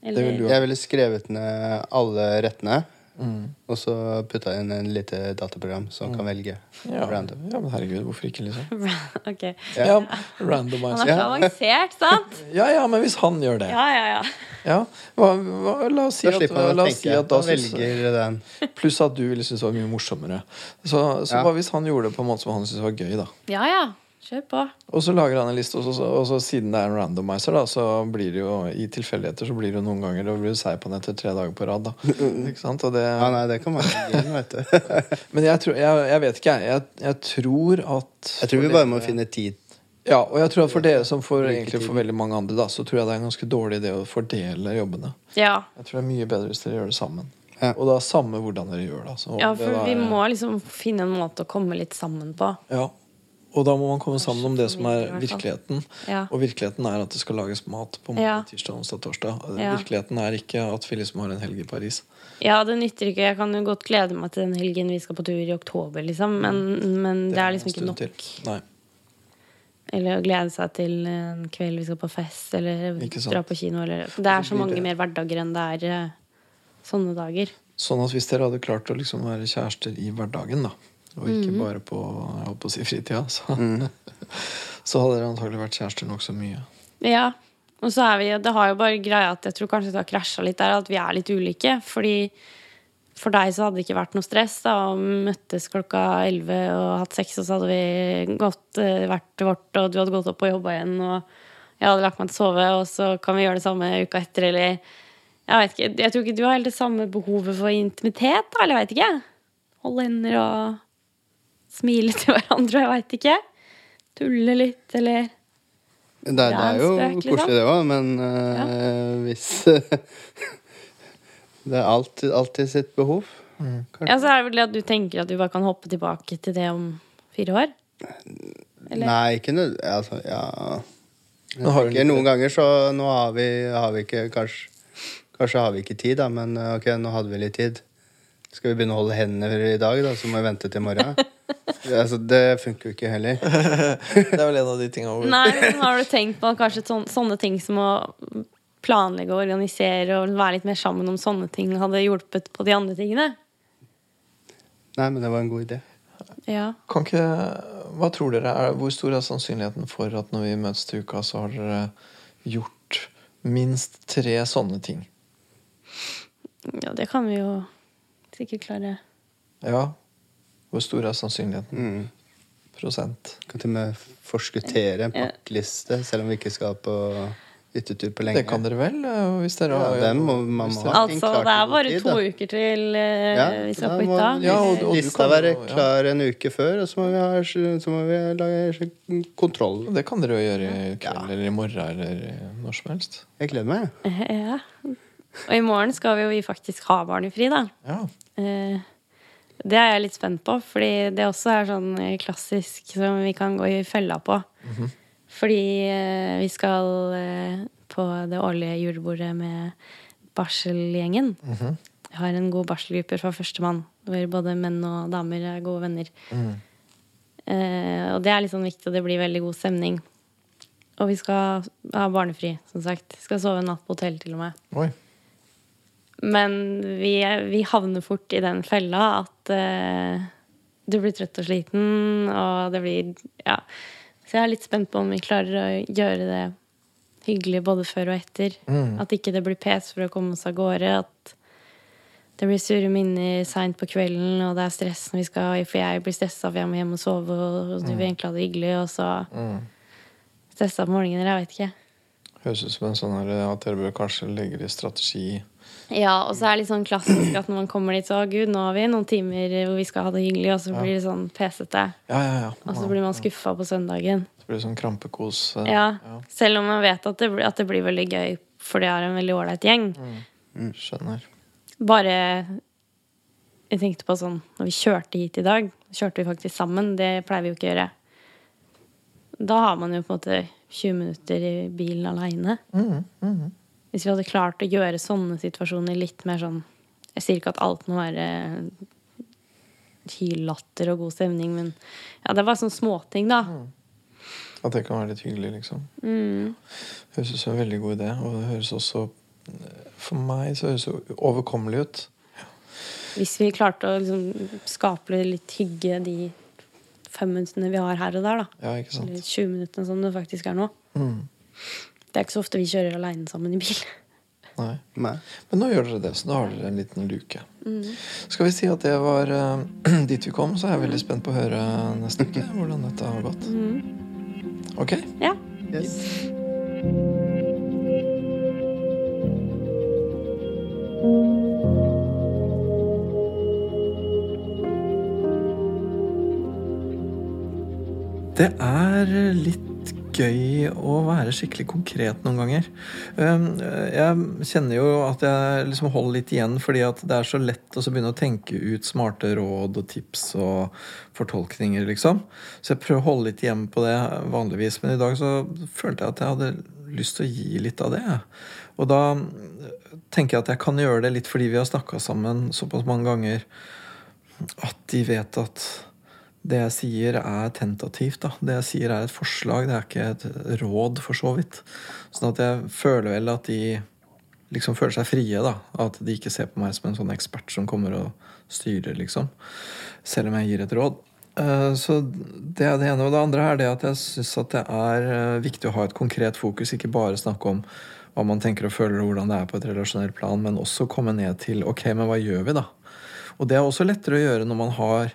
Speaker 5: Eller,
Speaker 2: Mm. vil du-
Speaker 4: Jeg ville skrevet ned alle rettene,
Speaker 2: Mm.
Speaker 4: og så putta inn en lite dataprogram som kan velge.
Speaker 2: Ja,
Speaker 4: Random.
Speaker 2: ja, men herregud, hvorfor ikke, liksom?
Speaker 5: [laughs] Ok.
Speaker 2: Ja,
Speaker 5: [laughs]
Speaker 4: Ja.
Speaker 5: Han
Speaker 2: randomize.
Speaker 5: er så avansert, sant?
Speaker 2: Ja, [laughs] ja, men hvis han gjør det
Speaker 5: Ja, ja, ja.
Speaker 2: Ja, hva, hva, La oss si
Speaker 4: Da
Speaker 2: at,
Speaker 4: slipper man
Speaker 2: la
Speaker 4: å
Speaker 2: oss si
Speaker 4: tenke.
Speaker 2: at
Speaker 4: Da
Speaker 2: da synes-
Speaker 4: velger den.
Speaker 2: Pluss at du ville synes det var mye morsommere. Så, så
Speaker 4: Ja.
Speaker 2: hva hvis han gjorde det på en måte som han syntes var gøy? da
Speaker 5: Ja, ja. Kjør på.
Speaker 2: Og så lager han en liste, og så, og så siden det er en randomizer, da, så blir det jo i tilfeldigheter så blir det jo noen ganger Da blir du seig på den etter tre dager på
Speaker 4: [laughs]
Speaker 2: rad. da Ikke sant? Og det,
Speaker 4: Ja, nei, det kan man ikke gi, vet du.
Speaker 2: Men jeg, tror, jeg, jeg vet ikke, jeg. Jeg, jeg tror at
Speaker 4: [laughs] Jeg tror vi bare må finne tid.
Speaker 2: Ja, og jeg tror at for dere som for, egentlig for veldig mange andre, da så tror jeg det er en ganske dårlig idé å fordele jobbene.
Speaker 5: Ja.
Speaker 2: Jeg tror det er mye bedre hvis dere gjør det sammen.
Speaker 4: Ja.
Speaker 2: Og da samme hvordan dere gjør det. Altså. Og
Speaker 5: ja,
Speaker 2: det
Speaker 5: for
Speaker 2: da
Speaker 5: vi
Speaker 2: er-
Speaker 5: må liksom finne en måte å komme litt sammen på.
Speaker 2: Ja. Og da må man komme sammen om det som er
Speaker 5: Kanskje for
Speaker 2: virkeligheten.
Speaker 5: Ja.
Speaker 2: Og virkeligheten er at det skal lages mat på
Speaker 5: Ja.
Speaker 2: mandag, tirsdag, onsdag, torsdag. Altså,
Speaker 5: Ja.
Speaker 2: Virkeligheten er ikke at vi liksom har en helg i Paris.
Speaker 5: Ja, det nytter ikke. Jeg kan jo godt glede meg til den helgen vi skal på tur i oktober, liksom. Men, men det er liksom
Speaker 2: Mm. en stund
Speaker 5: ikke nok.
Speaker 2: til. Nei.
Speaker 5: Eller å glede seg til en kveld vi skal på fest, eller
Speaker 2: Ikke sant.
Speaker 5: dra på kino, eller Det er
Speaker 2: Så
Speaker 5: så
Speaker 2: blir
Speaker 5: mange
Speaker 2: det-
Speaker 5: mer hverdager enn det er eh, sånne dager.
Speaker 2: Sånn at hvis dere hadde klart å liksom være kjærester i hverdagen, da, og ikke
Speaker 5: Mhm.
Speaker 2: bare på jeg holdt på å si fritida, så,
Speaker 4: Mhm.
Speaker 2: [laughs] så hadde dere antagelig vært kjærester nokså mye.
Speaker 5: Ja. Og så er vi Det har jo bare greia at jeg tror kanskje det har krasja litt der, at vi er litt ulike. Fordi for deg så hadde det ikke vært noe stress da, og møttes klokka elleve og hatt sex, og så hadde vi gått eh, hvert til vårt, og du hadde gått opp og jobba igjen, og jeg hadde lagt meg til å sove, og så kan vi gjøre det samme uka etter, eller Jeg vet ikke. Jeg tror ikke du har helt det samme behovet for intimitet, da, eller jeg veit ikke. Holde hender og smile til hverandre, jeg veit ikke. Tulle litt, eller
Speaker 4: Det, det
Speaker 5: er
Speaker 4: er
Speaker 5: en
Speaker 4: jo
Speaker 5: spøk, liksom.
Speaker 4: koselig, det òg, men eh, hvis [laughs] Det er alltid, alltid sitt behov. Kanskje.
Speaker 5: Ja, så er det vel det at du tenker at du bare kan hoppe tilbake til det om fire år? Eller?
Speaker 4: Nei, ikke nødvendigvis altså, ja.
Speaker 2: Men har
Speaker 4: Ikke
Speaker 2: hun-
Speaker 4: Noen ganger så Nå har vi, har vi ikke kanskje, kanskje har vi ikke tid, da, men eh, ok, nå hadde vi litt tid. Skal vi begynne å holde hendene i dag, da, så må vi vente til
Speaker 5: [laughs]
Speaker 4: i morgen? altså, det funker jo ikke heller.
Speaker 2: [laughs] Det er vel en av de tinga hvor
Speaker 5: Nei, men har du tenkt på kanskje sån- sånne ting som å planlegge og organisere og være litt mer sammen om sånne ting hadde hjulpet på de andre tingene?
Speaker 4: Nei, men det var en god idé.
Speaker 5: Ja.
Speaker 2: Kan ikke, hva tror dere er, Hvor stor er sannsynligheten for at når vi møtes til uka, så har dere gjort minst tre sånne ting?
Speaker 5: ja, det kan vi jo sikkert klare.
Speaker 2: Ja. Hvor stor er sannsynligheten?
Speaker 4: Mm.
Speaker 2: Prosent.
Speaker 4: Kan til og med forskuttere en pakkeliste, selv om vi ikke skal på hyttetur på lenge.
Speaker 2: Det kan dere vel? eh, Hvis dere
Speaker 4: Ja, den må man
Speaker 2: hvis
Speaker 4: må
Speaker 2: dere-
Speaker 4: ha.
Speaker 5: Altså, det er bare to uker til eh,
Speaker 4: Ja,
Speaker 5: vi
Speaker 4: da
Speaker 5: skal på
Speaker 4: må
Speaker 5: hytta.
Speaker 4: lis-
Speaker 2: Ja, og- og du
Speaker 4: Lista
Speaker 2: kan
Speaker 4: være
Speaker 2: jo- ja.
Speaker 4: klar en uke før, og så må vi, ha, så må vi lage kontroll.
Speaker 2: Det kan dere jo gjøre i kveld eller i morgen eller når som helst.
Speaker 4: Jeg gleder meg. jeg.
Speaker 5: [laughs] Ja. Og i morgen skal vi jo vi faktisk ha barnefri, da.
Speaker 2: Ja.
Speaker 5: Eh, Det er jeg litt spent på, fordi det også er sånn eh, klassisk som vi kan gå i fella på. Fordi eh, vi skal eh, på det årlige julebordet med barselgjengen. Jeg har en god barselgruppe fra førstemann, hvor både menn og damer er gode venner. Eh, og det er litt sånn viktig, og det blir veldig god stemning. Og vi skal ha barnefri, som sagt. Skal sove en natt på hotell, til og med.
Speaker 2: Oi.
Speaker 5: Men vi, vi havner fort i den fella at eh, du blir trøtt og sliten, og det blir Ja. Så jeg er litt spent på om vi klarer å gjøre det hyggelig både før og etter. At ikke det blir pes for å komme oss av gårde. At det blir sure minner seint på kvelden, og det er stress når vi skal For jeg blir stressa, for jeg må hjem og sove, og du vil egentlig ha det hyggelig, og så stressa på morgenen, eller jeg vet ikke.
Speaker 1: Høres ut som en sånn her
Speaker 2: eh,
Speaker 1: at dere bør kanskje legge det i strategi.
Speaker 5: Ja, og så er det litt sånn klassisk at når man kommer dit, så gud, nå har vi noen timer hvor vi skal ha det hyggelig, og så blir det sånn pesete.
Speaker 1: Ja, ja, ja.
Speaker 5: Og så Altså, blir man skuffa på søndagen.
Speaker 1: Det blir sånn krampekos. eh,
Speaker 5: Ja, Selv om man vet at det, blir- at det blir veldig gøy, for det er en veldig ålreit gjeng.
Speaker 1: Skjønner.
Speaker 5: Bare Jeg tenkte på sånn Når vi kjørte hit i dag, kjørte vi faktisk sammen. Det pleier vi jo ikke å gjøre. Da har man jo på en måte 20 minutter i bilen aleine. Hvis vi hadde klart å gjøre sånne situasjoner litt mer sånn Jeg sier ikke at alt må være hyllatter og god stemning, men ja, det var sånne småting, da.
Speaker 1: At det kan være litt hyggelig, liksom.
Speaker 5: Mm.
Speaker 1: Høres ut som en veldig god idé. Og det høres også For meg så høres det overkommelig ut.
Speaker 5: Hvis vi klarte å liksom skape litt hygge de fem minuttene vi har her og der, da.
Speaker 1: Ja, ikke
Speaker 5: Eller
Speaker 1: sant?
Speaker 5: 20 minuttene som det faktisk er nå.
Speaker 1: Mm.
Speaker 5: Det er ikke så ofte vi kjører aleine sammen i bil. [laughs]
Speaker 1: Nei.
Speaker 4: Nei.
Speaker 1: Men nå gjør dere det, så nå har dere en liten luke. Skal vi si at det var eh, [clears throat] dit vi kom, så er jeg veldig spent på å høre neste uke hvordan dette har gått. Ok?
Speaker 5: Ja.
Speaker 4: Yes.
Speaker 2: Det er litt gøy å være skikkelig konkret noen ganger. Um, Jeg kjenner jo at jeg liksom holder litt igjen, fordi at det er så lett å så begynne å tenke ut smarte råd og tips og fortolkninger, liksom. Så jeg prøver å holde litt igjen på det vanligvis, men i dag så følte jeg at jeg hadde lyst til å gi litt av det. jeg. Og da tenker jeg at jeg kan gjøre det litt fordi vi har snakka sammen såpass mange ganger at de vet at det jeg sier, er tentativt. Da. Det jeg sier, er et forslag, det er ikke et råd, for så vidt. Sånn at jeg føler vel at de liksom føler seg frie, da. At de ikke ser på meg som en sånn ekspert som kommer og styrer, liksom. Selv om jeg gir et råd. Eh, Så det er det ene. Og det andre er det at jeg syns at det er eh, viktig å ha et konkret fokus, ikke bare snakke om hva man tenker og føler, og hvordan det er på et relasjonelt plan, men også komme ned til ok, men hva gjør vi, da? Og det er også lettere å gjøre når man har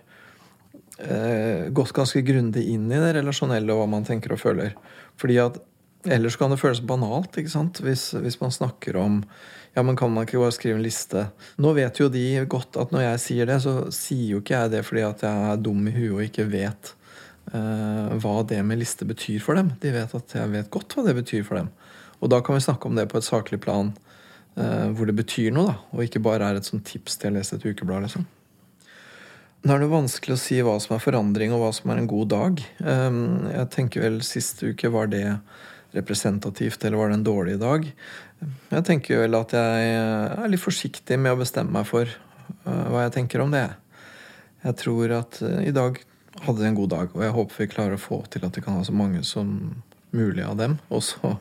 Speaker 2: eh, gått ganske grundig inn i det relasjonelle og hva man tenker og føler. Fordi at ellers kan det føles banalt ikke sant? Hvis, hvis man snakker om ja, men kan man ikke bare skrive en liste. Nå vet jo de godt at når jeg sier det, så sier jo ikke jeg det fordi at jeg er dum i huet og ikke vet eh, hva det med liste betyr for dem. De vet at jeg vet godt hva det betyr for dem. Og da kan vi snakke om det på et saklig plan eh, hvor det betyr noe, da. Og ikke bare er et sånt tips til å lese et ukeblad, liksom. Nå er det vanskelig å si hva som er forandring, og hva som er en god dag. Ehm, Jeg tenker vel sist uke var det representativt, eller var det en dårlig dag? Jeg tenker vel at jeg er litt forsiktig med å bestemme meg for eh, hva jeg tenker om det. Jeg tror at eh, i dag hadde vi en god dag, og jeg håper vi klarer å få til at vi kan ha så mange som mulig av dem. Og så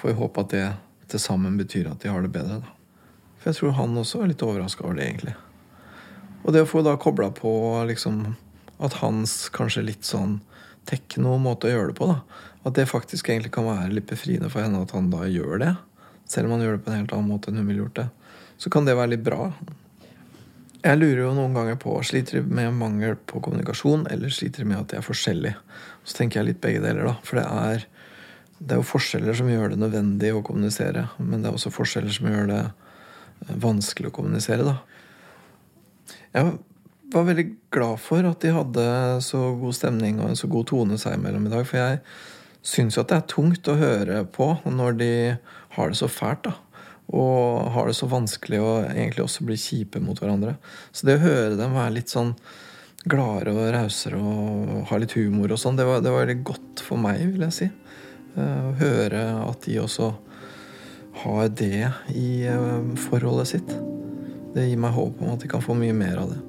Speaker 2: får vi håpe at det til sammen betyr at de har det bedre, da. For jeg tror han også er litt overraska over det, egentlig. Og det å få da kobla på liksom, at hans kanskje litt sånn tekno-måte å gjøre det på, da, at det faktisk egentlig kan være litt befriende for henne at han da gjør det. Selv om han gjør det på en helt annen måte enn hun ville gjort det. Så kan det være litt bra. Jeg lurer jo noen ganger på sliter de med mangel på kommunikasjon, eller sliter de med at de er forskjellige. Så tenker jeg litt begge deler, da. For det er, det er jo forskjeller som gjør det nødvendig å kommunisere. Men det er også forskjeller som gjør det eh, vanskelig å kommunisere, da. Jeg var veldig glad for at de hadde så god stemning og en så god tone seg imellom i dag. For jeg syns jo at det er tungt å høre på når de har det så fælt, da. Og har det så vanskelig og egentlig også blir kjipe mot hverandre. Så det å høre dem være litt sånn gladere og rausere og ha litt humor og sånn, det, var- det var veldig godt for meg, vil jeg si. Eh, Å høre at de også har det i eh, forholdet sitt. Det gir meg håp om at de kan få mye mer av det.